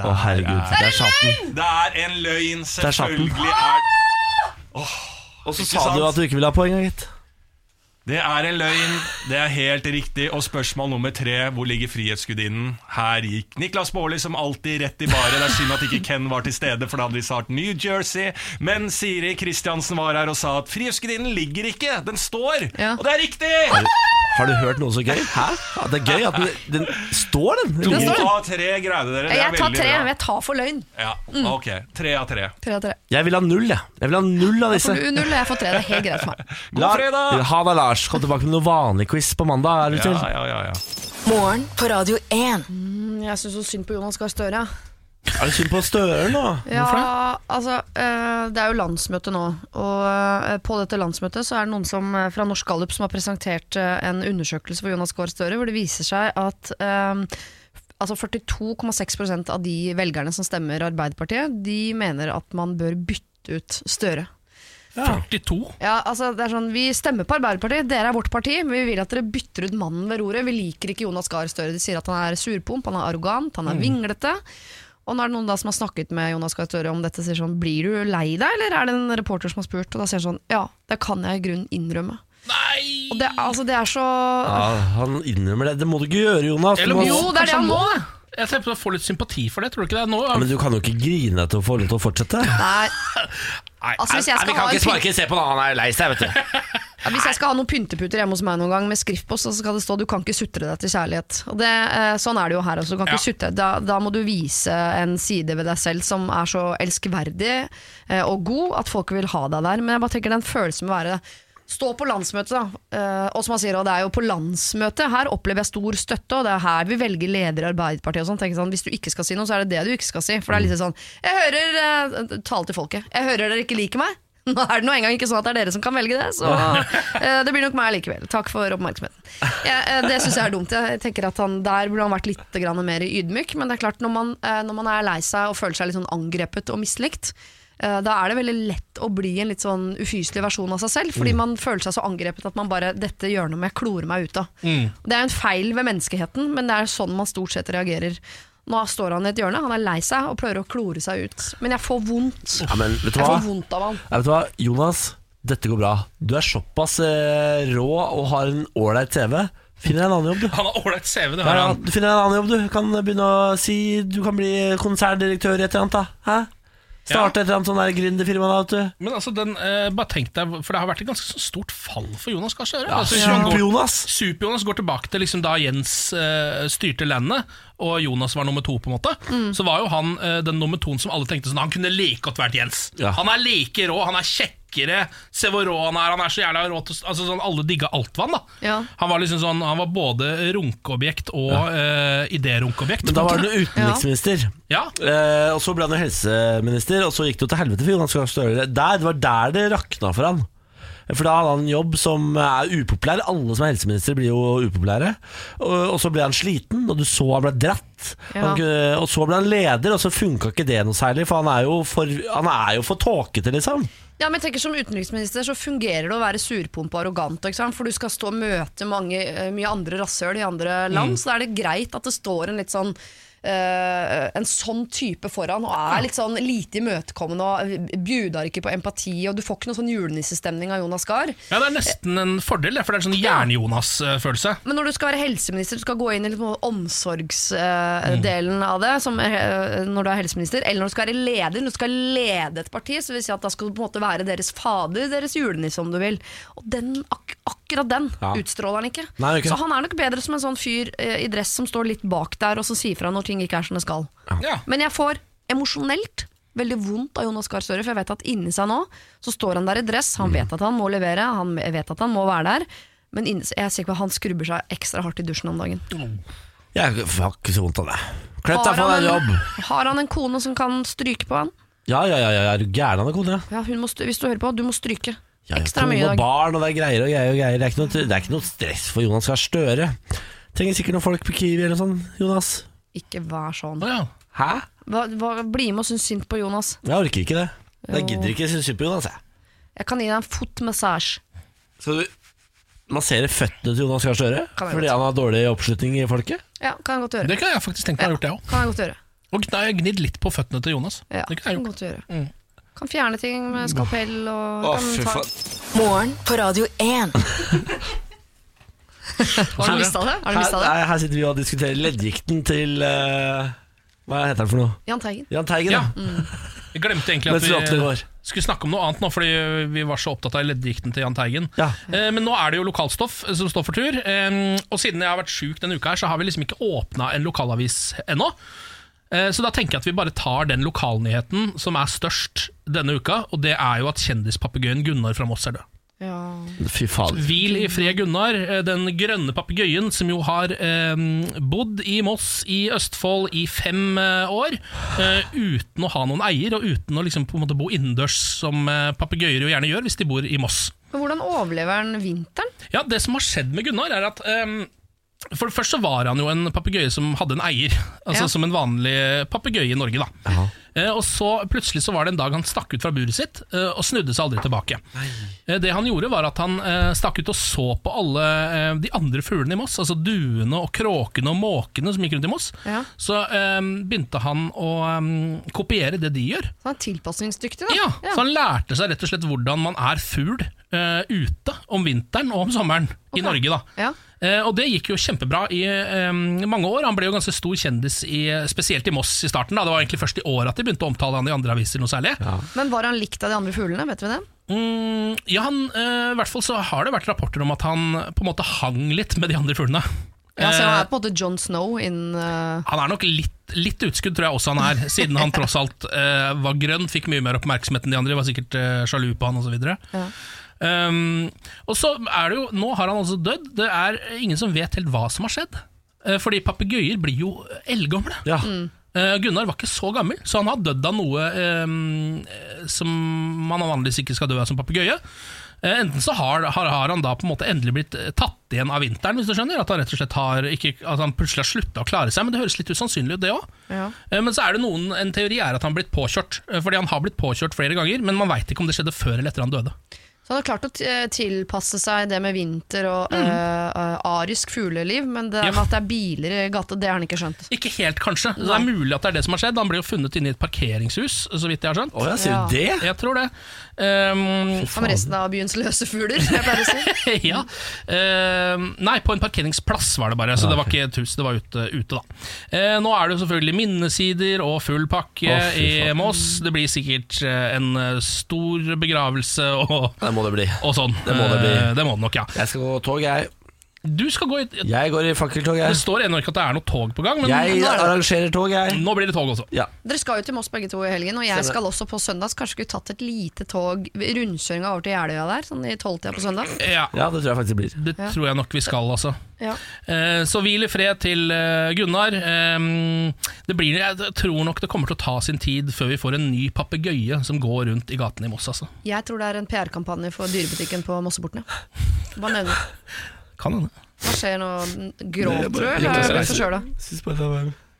Speaker 7: Der
Speaker 2: Å, herregud.
Speaker 7: Er,
Speaker 2: Det er chatten.
Speaker 7: det er en løgn,
Speaker 2: er chatten.
Speaker 7: selvfølgelig er
Speaker 2: Og så
Speaker 7: Ikke
Speaker 2: sa du
Speaker 7: sant?
Speaker 2: at du ikke ville ha poeng, gitt.
Speaker 7: Det er en løgn. Det er helt riktig. Og spørsmål nummer tre, hvor ligger Frihetsgudinnen? Her gikk Niklas Baarli som alltid rett i baret. Det er synd at ikke Ken var til stede, for da hadde de svart New Jersey. Men Siri Kristiansen var her og sa at Frihetsgudinnen ligger ikke, den står!
Speaker 3: Ja.
Speaker 7: Og det er riktig!
Speaker 2: Har du hørt noe så gøy? Hæ? Ja, det er gøy at den, den står, den.
Speaker 7: To
Speaker 2: Ligger ikke.
Speaker 7: av tre greide dere. Det er
Speaker 3: Jeg tar
Speaker 7: veldig
Speaker 3: tre.
Speaker 7: bra.
Speaker 3: Jeg tar for løgn.
Speaker 7: Ja, ok. Tre av tre.
Speaker 3: Tre av tre.
Speaker 2: Jeg vil ha null, jeg. Jeg vil ha null av disse.
Speaker 3: Får du null, og jeg får tre. Det er helt greit for meg.
Speaker 7: God fredag!
Speaker 2: Ha det, Lars. Kom tilbake med noe vanlig quiz på mandag. Er du til?
Speaker 7: Ja, ja, ja, ja.
Speaker 4: Morgen på Radio 1.
Speaker 3: Jeg syns så synd på Jonas Gahr Støre.
Speaker 2: Er det synd på Støre nå?
Speaker 3: Ja,
Speaker 2: Hvorfor det?
Speaker 3: altså, eh, det er jo landsmøte nå, og eh, på dette landsmøtet så er det noen som, eh, fra Norsk Gallup som har presentert eh, en undersøkelse for Jonas Gahr Støre, hvor det viser seg at eh, altså 42,6 av de velgerne som stemmer Arbeiderpartiet, de mener at man bør bytte ut Støre.
Speaker 1: 42.
Speaker 3: Ja, altså det er sånn, Vi stemmer på Arbeiderpartiet, dere er vårt parti, men vi vil at dere bytter ut mannen ved roret. Vi liker ikke Jonas Gahr Støre. De sier at han er surpomp, han er arrogant, han er vinglete. Og nå er det noen da som har snakket med Jonas Gahr Støre om dette, sier sånn Blir du lei deg, eller er det en reporter som har spurt? Og da sier han sånn Ja, det kan jeg i grunnen innrømme.
Speaker 1: Nei!
Speaker 3: Og det, er- altså, det er så
Speaker 2: Ja, han innrømmer det. Det må du ikke gjøre, Jonas. Du
Speaker 1: Eller
Speaker 2: må...
Speaker 1: må-
Speaker 3: Jo, det er det han må!
Speaker 1: Jeg ser på å få litt sympati for det, tror du ikke det? Nå,
Speaker 2: Ja, Men du kan jo ikke grine til å få lov til å fortsette.
Speaker 3: Nei,
Speaker 2: Nei,
Speaker 3: Altså, hvis jeg skal ha en
Speaker 2: se på når han er lei seg, vet du.
Speaker 3: Ja, Hvis jeg skal ha noen pynteputer hjemme hos meg noen gang med skriftpost, så skal det stå 'du kan ikke sutre deg til kjærlighet'. Og det, eh, sånn er det jo her også. Du kan ikke sutre. Da, da må du vise en side ved deg selv som er så elskverdig eh, og god at folk vil ha deg der. Men jeg bare tenker den følelsen med å være Stå på landsmøtet, da. Eh, og som han sier, og det er jo på landsmøtet. Her opplever jeg stor støtte, og det er her vi velger leder i Arbeiderpartiet og sånn. Tenker sånn, Hvis du ikke skal si noe, så er det det du ikke skal si. For det er litt sånn Jeg hører eh, Tale til folket. Jeg hører dere ikke liker meg. Nå er det nå engang ikke sånn at det er dere som kan velge det, så eh, det blir nok meg likevel. Takk for oppmerksomheten. Jeg, eh, det syns jeg er dumt. Jeg tenker at han, Der burde han vært litt grann mer ydmyk. Men det er klart, når man, eh, når man er lei seg og føler seg litt sånn angrepet og mislikt, eh, da er det veldig lett å bli en litt sånn ufyselig versjon av seg selv.
Speaker 2: Mm.
Speaker 3: Fordi man føler seg så angrepet at man bare 'Dette gjør noe med jeg klorer meg ut av'.
Speaker 2: Mm.
Speaker 3: Det er en feil ved menneskeheten, men det er sånn man stort sett reagerer. Nå står han i et hjørne, han er lei seg og prøver å klore seg ut. Men jeg får vondt.
Speaker 2: Ja, men vet du
Speaker 3: Jeg
Speaker 2: hva?
Speaker 3: får vondt av han.
Speaker 2: Ja, vet du hva? Jonas, dette går bra. Du er såpass eh, rå og har en ålreit TV. Finn deg en annen jobb, du.
Speaker 1: Han har ålreit CV, det
Speaker 2: Ja,
Speaker 1: har
Speaker 2: ja,
Speaker 1: han.
Speaker 2: du finner en annen jobb, du. Kan begynne å si Du kan bli konserndirektør i et eller annet, da. Hæ? Starte et eller annet sånn der gründerfirma, da, vet du.
Speaker 1: Men altså, den, eh, bare tenk deg, for det har vært et ganske sånn stort fall for Jonas Gahr Støre.
Speaker 2: Ja,
Speaker 1: altså, hvis man går-
Speaker 2: Super-Jonas.
Speaker 1: Super-Jonas går tilbake til liksom da Jens eh, styrte landet, og Jonas var nummer to, på en måte.
Speaker 2: Mm.
Speaker 1: Så var jo han eh, den nummer toen som alle tenkte sånn Han kunne like godt vært Jens.
Speaker 2: Ja.
Speaker 1: Han er like rå, han er kjekkere, se hvor rå han er, han er så jævla rå til altså, sånn, Alle digga altvann, da.
Speaker 3: Ja.
Speaker 1: Han var liksom sånn Han var både runkeobjekt og eh, idérunkeobjekt.
Speaker 2: Men da
Speaker 1: på en
Speaker 2: var
Speaker 1: måte.
Speaker 2: han jo utenriksminister.
Speaker 1: Ja.
Speaker 2: Eh, og så ble han jo helseminister, og så gikk det jo til helvete for Jonas Gahr Støre. Der, det var der det rakna for han. For da hadde han en jobb som er upopulær. Alle som er helseminister, blir jo upopulære. Og, og så ble han sliten, og du så han ble dratt.
Speaker 3: Ja.
Speaker 2: Han kunne- og så ble han leder, og så funka ikke det noe særlig, for han er jo for, han er jo for tåkete, liksom.
Speaker 3: Ja, men jeg tenker Som utenriksminister så fungerer det å være surpompe og arrogant. Ikke sant? For du skal stå og møte mange, eh, mye andre rasshøl i andre land, så da er det greit at det står en litt sånn eh, en sånn type foran og er litt sånn lite imøtekommende og bjuder ikke på empati. Og Du får ikke noe sånn julenissestemning av Jonas Gahr.
Speaker 1: Ja, Det er nesten en fordel, det, for det er en sånn Jern-Jonas-følelse.
Speaker 3: Men når du skal være helseminister, du skal gå inn i liksom omsorgsdelen av det som, eh, når du er helseminister, eller når du skal være leder, når du skal lede et parti, så vil jeg si at da skal du på en måte være deres fader, deres julenisse, om du vil. Og den, ak akkurat den
Speaker 2: Ja.
Speaker 3: utstråler han ikke.
Speaker 2: Nei, det er ikke
Speaker 3: Så
Speaker 2: det.
Speaker 3: han er nok bedre som en sånn fyr eh, i dress som står litt bak der, og som sier fra når ting ikke er som det skal.
Speaker 1: Ja.
Speaker 3: Men jeg får emosjonelt veldig vondt av Jonas Gahr Støre, for jeg vet at inni seg nå så står han der i dress, han
Speaker 1: Mm.
Speaker 3: vet at han må levere, han vet at han må være der. Men inni, jeg er sikker på at han skrubber seg ekstra hardt i dusjen om dagen.
Speaker 2: Jeg har ikke så vondt av det. Klepp deg, få deg en jobb.
Speaker 3: har han en kone som kan stryke på han?
Speaker 2: Ja, ja, ja, ja, er du gæren av det, kone?
Speaker 3: Ja, hun må, st- hvis du hører på, du må stryke
Speaker 2: Ja, ja,
Speaker 3: ekstra
Speaker 2: kone
Speaker 3: mye
Speaker 2: og
Speaker 3: i dag.
Speaker 2: barn, og det er greier og greier og greier. Det er ikke noe, det er ikke noe stress for Jonas Gahr Støre. Trenger sikkert noen folk på Kiwi eller sånn, Jonas.
Speaker 3: Ikke vær sånn.
Speaker 1: Å, ja.
Speaker 2: Hæ?
Speaker 3: Hva, hva, bli med og synes synd på Jonas.
Speaker 2: Jeg orker ikke det. Jeg gidder ikke synes synd på Jonas, jeg.
Speaker 3: Jeg kan gi deg en fotmassasje.
Speaker 2: Skal du massere føttene til Jonas Gahr Støre?
Speaker 3: Kan jeg
Speaker 2: Fordi
Speaker 3: godt.
Speaker 2: han har dårlig oppslutning i folket?
Speaker 3: Ja, kan jeg godt gjøre.
Speaker 1: Det kan jeg faktisk tenke meg å ha gjort, jeg òg.
Speaker 3: Kan jeg godt gjøre.
Speaker 1: Og gn- jeg har gnidd litt på føttene til Jonas.
Speaker 3: Ja,
Speaker 1: Det kan jeg Mm.
Speaker 3: kan
Speaker 1: gjort.
Speaker 3: godt gjøre. Kan fjerne ting med skalpell og kan ta...
Speaker 4: Morgen på Radio 1.
Speaker 3: Har du mista det? Har du
Speaker 2: Her,
Speaker 3: mistet det?
Speaker 2: nei, her sitter vi og diskuterer leddgikten til eh, Hva heter han for noe?
Speaker 3: Jan Teigen.
Speaker 2: Jan Teigen,
Speaker 1: Ja.
Speaker 2: ja.
Speaker 3: Mm.
Speaker 1: Jeg glemte egentlig
Speaker 2: Mens vi
Speaker 1: at
Speaker 2: åpner
Speaker 1: vi
Speaker 2: vår.
Speaker 1: skulle snakke om noe annet nå, fordi vi var så opptatt av leddgikten til Jahn Teigen.
Speaker 2: Ja.
Speaker 1: Eh, Men nå er det jo lokalstoff eh, som står for tur. eh, Og siden jeg har vært sjuk denne uka, her, så har vi liksom ikke åpna en lokalavis ennå. Eh, Så da tenker jeg at vi bare tar den lokalnyheten som er størst denne uka, og det er jo at kjendispapegøyen Gunnar fra Moss er død.
Speaker 3: Ja.
Speaker 2: Fy faen.
Speaker 1: Hvil i fred, Gunnar. eh, Den grønne papegøyen som jo har eh, bodd i Moss i Østfold i fem eh, år, eh, uten å ha noen eier, og uten å liksom på en måte bo innendørs, som eh, papegøyer jo gjerne gjør hvis de bor i Moss.
Speaker 3: Men hvordan overlever han vinteren?
Speaker 1: Ja, Det som har skjedd med Gunnar, er at eh, for det første så var han jo en papegøye som hadde en eier. Altså
Speaker 3: Ja.
Speaker 1: Som en vanlig papegøye i Norge, da. Eh, og så plutselig så var det en dag han stakk ut fra buret sitt eh, og snudde seg aldri tilbake. Eh, det han gjorde, var at han eh, stakk ut og så på alle eh, de andre fuglene i Moss. Altså duene og kråkene og måkene som gikk rundt i Moss.
Speaker 3: Ja.
Speaker 1: Så eh, begynte han å eh, kopiere det de gjør.
Speaker 3: Så han er tilpasningsdyktig, da.
Speaker 1: Ja, sånn. Så han lærte seg rett og slett hvordan man er fugl eh, ute om vinteren og om sommeren i Norge. da
Speaker 3: Ja.
Speaker 1: Eh, og det gikk jo kjempebra i eh, mange år. Han ble jo ganske stor kjendis, i, spesielt i Moss i starten. Da. Det var egentlig først i år at de begynte å omtale han i andre aviser noe særlig. Ja,
Speaker 3: Men var han likt av de andre fuglene? Vet vi det?
Speaker 1: mm, ja han, eh, i hvert fall så har det vært rapporter om at han på en måte hang litt med de andre fuglene.
Speaker 3: Ja, så han
Speaker 1: Eh,
Speaker 3: er på en måte John Snow innen eh,
Speaker 1: han er nok litt, litt utskudd, tror jeg også han er, siden han tross alt eh, var grønn, fikk mye mer oppmerksomhet enn de andre, var sikkert eh, sjalu på han osv.
Speaker 3: Ja.
Speaker 1: Um, og så er det jo, nå har han altså dødd, det er ingen som vet helt hva som har skjedd. Eh, Fordi papegøyer blir jo eldgamle.
Speaker 2: Ja.
Speaker 3: Mm.
Speaker 1: Eh, Gunnar var ikke så gammel, så han har dødd av noe eh, som man vanligvis ikke skal dø av som papegøye. Eh, enten så har, har, har han da på en måte endelig blitt eh, tatt igjen av vinteren, hvis du skjønner. At han rett og slett har ikke, at han plutselig har slutta å klare seg, men det høres litt usannsynlig ut, det òg.
Speaker 3: ja.
Speaker 1: Men så er det noen, en teori er at han har blitt påkjørt, eh, fordi han har blitt påkjørt flere ganger, men man veit ikke om det skjedde før eller etter han døde.
Speaker 3: Så han har klart å t- eh, tilpasse seg det med vinter og eh, eh, arisk fugleliv, men det
Speaker 1: Mhm. Ja.
Speaker 3: med at det er biler i gata, det har han ikke skjønt.
Speaker 1: Ikke helt, kanskje. Så det er mulig at det er det som har skjedd. Han ble jo funnet inne i et parkeringshus, så vidt jeg har skjønt.
Speaker 2: Å ja, sier du det?
Speaker 1: Jeg tror det. Ehm,
Speaker 3: Som resten av byens løse fugler, som jeg pleier å si.
Speaker 1: ja. Ehm, nei, på en parkeringsplass var det bare, så det
Speaker 2: Ah,
Speaker 1: var ikke et hus, det var ute, ute da. Eh, nå er det jo selvfølgelig minnesider og full pakke
Speaker 2: Å, fy
Speaker 1: i Moss. Det blir sikkert eh, en eh, stor begravelse og,
Speaker 2: Det må det bli.
Speaker 1: og sånn.
Speaker 2: Det må det bli.
Speaker 1: Eh, det må det nok, ja.
Speaker 2: Jeg skal gå tog, jeg.
Speaker 1: Du skal gå i Det
Speaker 2: Jeg går i fakkeltog, jeg.
Speaker 1: står ennå ikke at det er noe tog på gang, men
Speaker 2: Eh. Jeg
Speaker 1: nå, er det.
Speaker 2: arrangerer tog,
Speaker 3: Mm.
Speaker 2: jeg.
Speaker 1: nå blir det tog også.
Speaker 2: Ja.
Speaker 3: Dere skal jo til Moss begge to i helgen, og jeg skal også på søndag. Så kanskje skulle vi tatt et lite tog rundkjøringa over til Jeløya der, sånn i tolvtida på søndag.
Speaker 1: Ja,
Speaker 2: ja, det tror jeg faktisk det blir.
Speaker 1: det tror jeg nok vi skal, altså.
Speaker 3: Ja.
Speaker 1: Eh, Så hvil i fred til eh, Gunnar. Eh, Det blir, jeg tror nok det kommer til å ta sin tid før vi får en ny papegøye som går rundt i gatene i Moss. Altså.
Speaker 3: Jeg tror det er en PR-kampanje for dyrebutikken på Mosseporten, ja. Bare nevne det.
Speaker 1: Kan hende.
Speaker 3: Hva skjer nå? Grovt, tror jeg.
Speaker 1: jeg
Speaker 3: eller
Speaker 1: bare-
Speaker 3: er det for sjøl, da?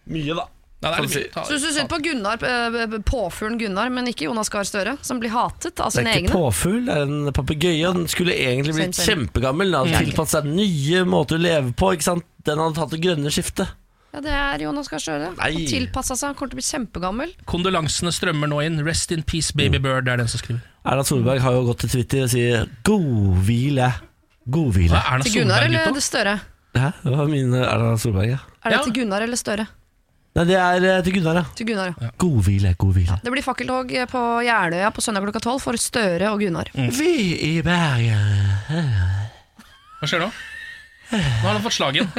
Speaker 2: Mye, da.
Speaker 1: Nei, det er litt mye. Ta-
Speaker 3: Så du syns synd på Gunnar, eh, påfuglen Gunnar, men ikke Jonas Gahr Støre, som blir hatet av
Speaker 2: Det
Speaker 3: sine
Speaker 2: er ikke
Speaker 3: egne.
Speaker 2: påfugl, det er en papegøye. og Den skulle egentlig blitt
Speaker 3: Same, same.
Speaker 2: kjempegammel. Den hadde
Speaker 3: Ja.
Speaker 2: tilpasset seg nye måter å leve på. ikke sant? Den hadde tatt det grønne skiftet.
Speaker 3: Ja, det er Jonas Gahr Støre.
Speaker 2: Nei.
Speaker 3: Han Tilpassa seg, han kommer til å bli kjempegammel.
Speaker 1: Kondolansene strømmer nå inn. Rest in peace, baby bird, er den som skriver.
Speaker 2: Erna Solberg har jo gått til Twitter og sier 'god hvile'. God hvile.
Speaker 1: Hva er Erna
Speaker 3: Til Gunnar
Speaker 1: Solberg
Speaker 3: eller
Speaker 1: ute?
Speaker 3: det Støre?
Speaker 2: Hæ? Det var min eh, Erna Solberg, ja.
Speaker 3: Er det
Speaker 1: Ja.
Speaker 3: til Gunnar eller Støre?
Speaker 2: Nei, det er eh, til Gunnar, ja.
Speaker 3: Til Gunnar, ja.
Speaker 2: God hvile, god hvile.
Speaker 3: Det blir fakkeltog eh, på Jeløya på søndag klokka tolv for Støre og Gunnar.
Speaker 2: Vi i Bergen
Speaker 1: Hva skjer nå? Nå har han fått slag igjen.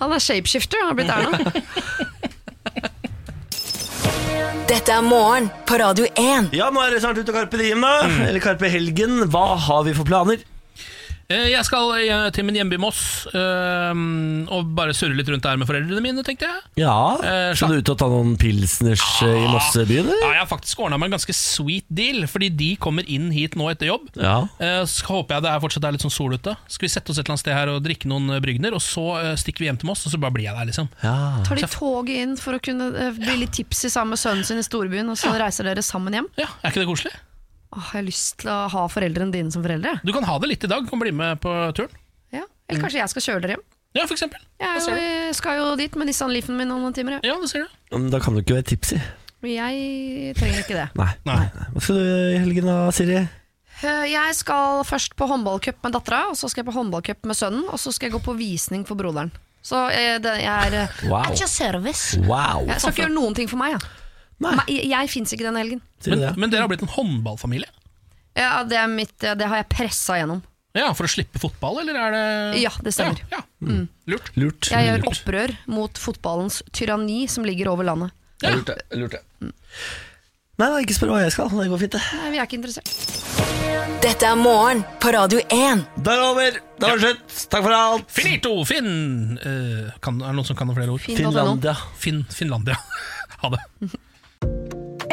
Speaker 3: Han er shapeshifter, han har blitt Erna.
Speaker 4: Dette er morgen på Radio 1.
Speaker 2: Ja, nå er det snart ute Karpe Diem, da. Eller Karpe Helgen. Hva har vi for planer?
Speaker 1: Eh, Jeg skal eh, til min hjemby Moss eh, og bare surre litt rundt der med foreldrene mine, tenkte jeg.
Speaker 2: Ja,
Speaker 1: Eh,
Speaker 2: Skal du ut og ta noen pilsners eh, i Mossebyen,
Speaker 1: Ja,
Speaker 3: Mm.
Speaker 2: eller?
Speaker 1: jeg har faktisk ordna meg en ganske sweet deal, fordi de kommer inn hit nå etter jobb.
Speaker 2: Ja.
Speaker 1: Eh, Så håper jeg det er fortsatt er litt sånn sol ute. Skal vi sette oss et eller annet sted her og drikke noen eh, brygner, og så eh, stikker vi hjem til Moss, og så bare blir jeg der, liksom.
Speaker 2: ja.
Speaker 3: Tar de toget inn for å kunne eh, bli litt tipsy sammen med sønnen sin i storbyen, og så reiser dere sammen hjem?
Speaker 1: Ja, Er ikke det koselig?
Speaker 3: Åh, jeg har lyst til å ha foreldrene dine som foreldre.
Speaker 1: Du kan ha det litt i dag, kan bli med på turen.
Speaker 3: Ja. Eller kanskje jeg skal kjøre dere hjem.
Speaker 1: Ja, for eksempel.
Speaker 3: Jeg er jo, jeg skal jo dit med Nissan Leafen min om noen timer. Ja.
Speaker 1: Ja, det ser du.
Speaker 2: Men Da kan du ikke være tipsy.
Speaker 3: Men Jeg trenger ikke det.
Speaker 2: Nei.
Speaker 1: Nei.
Speaker 2: Hva skal du gjøre i helgen da, Siri?
Speaker 3: Eh, Jeg skal først på håndballcup med dattera, og så skal jeg på håndballcup med sønnen, og så skal jeg gå på visning for broderen. Så eh, det, jeg er eh,
Speaker 2: Wow.
Speaker 3: at jeg service.
Speaker 2: Wow.
Speaker 3: Jeg skal ikke gjøre noen ting for meg. Ja.
Speaker 2: Nei,
Speaker 3: Meg- Jeg, jeg fins ikke denne helgen.
Speaker 2: sier du
Speaker 1: Men,
Speaker 2: det?
Speaker 1: men dere har blitt en håndballfamilie?
Speaker 3: Ja, det, er mitt, eh, det har jeg pressa gjennom.
Speaker 1: Ja, For å slippe fotball, eller er det
Speaker 3: Ja, det stemmer. Mm.
Speaker 1: Ja, ja. Lurt.
Speaker 2: Lurt.
Speaker 3: Jeg gjør opprør mot fotballens tyranni som ligger over landet.
Speaker 1: Ja.
Speaker 2: Nei, da, ikke spør hva jeg skal. Det går fint, det.
Speaker 3: Nei, vi er ikke interessert.
Speaker 4: Dette er morgen på Radio 1.
Speaker 2: Da er det over. Da var det slutt. Takk for alt.
Speaker 1: Finito! Finn! Eh, kan, er det noen som kan noen flere ord?
Speaker 3: Finn.no.
Speaker 2: Finlandia.
Speaker 1: Finn, Finlandia. ha det.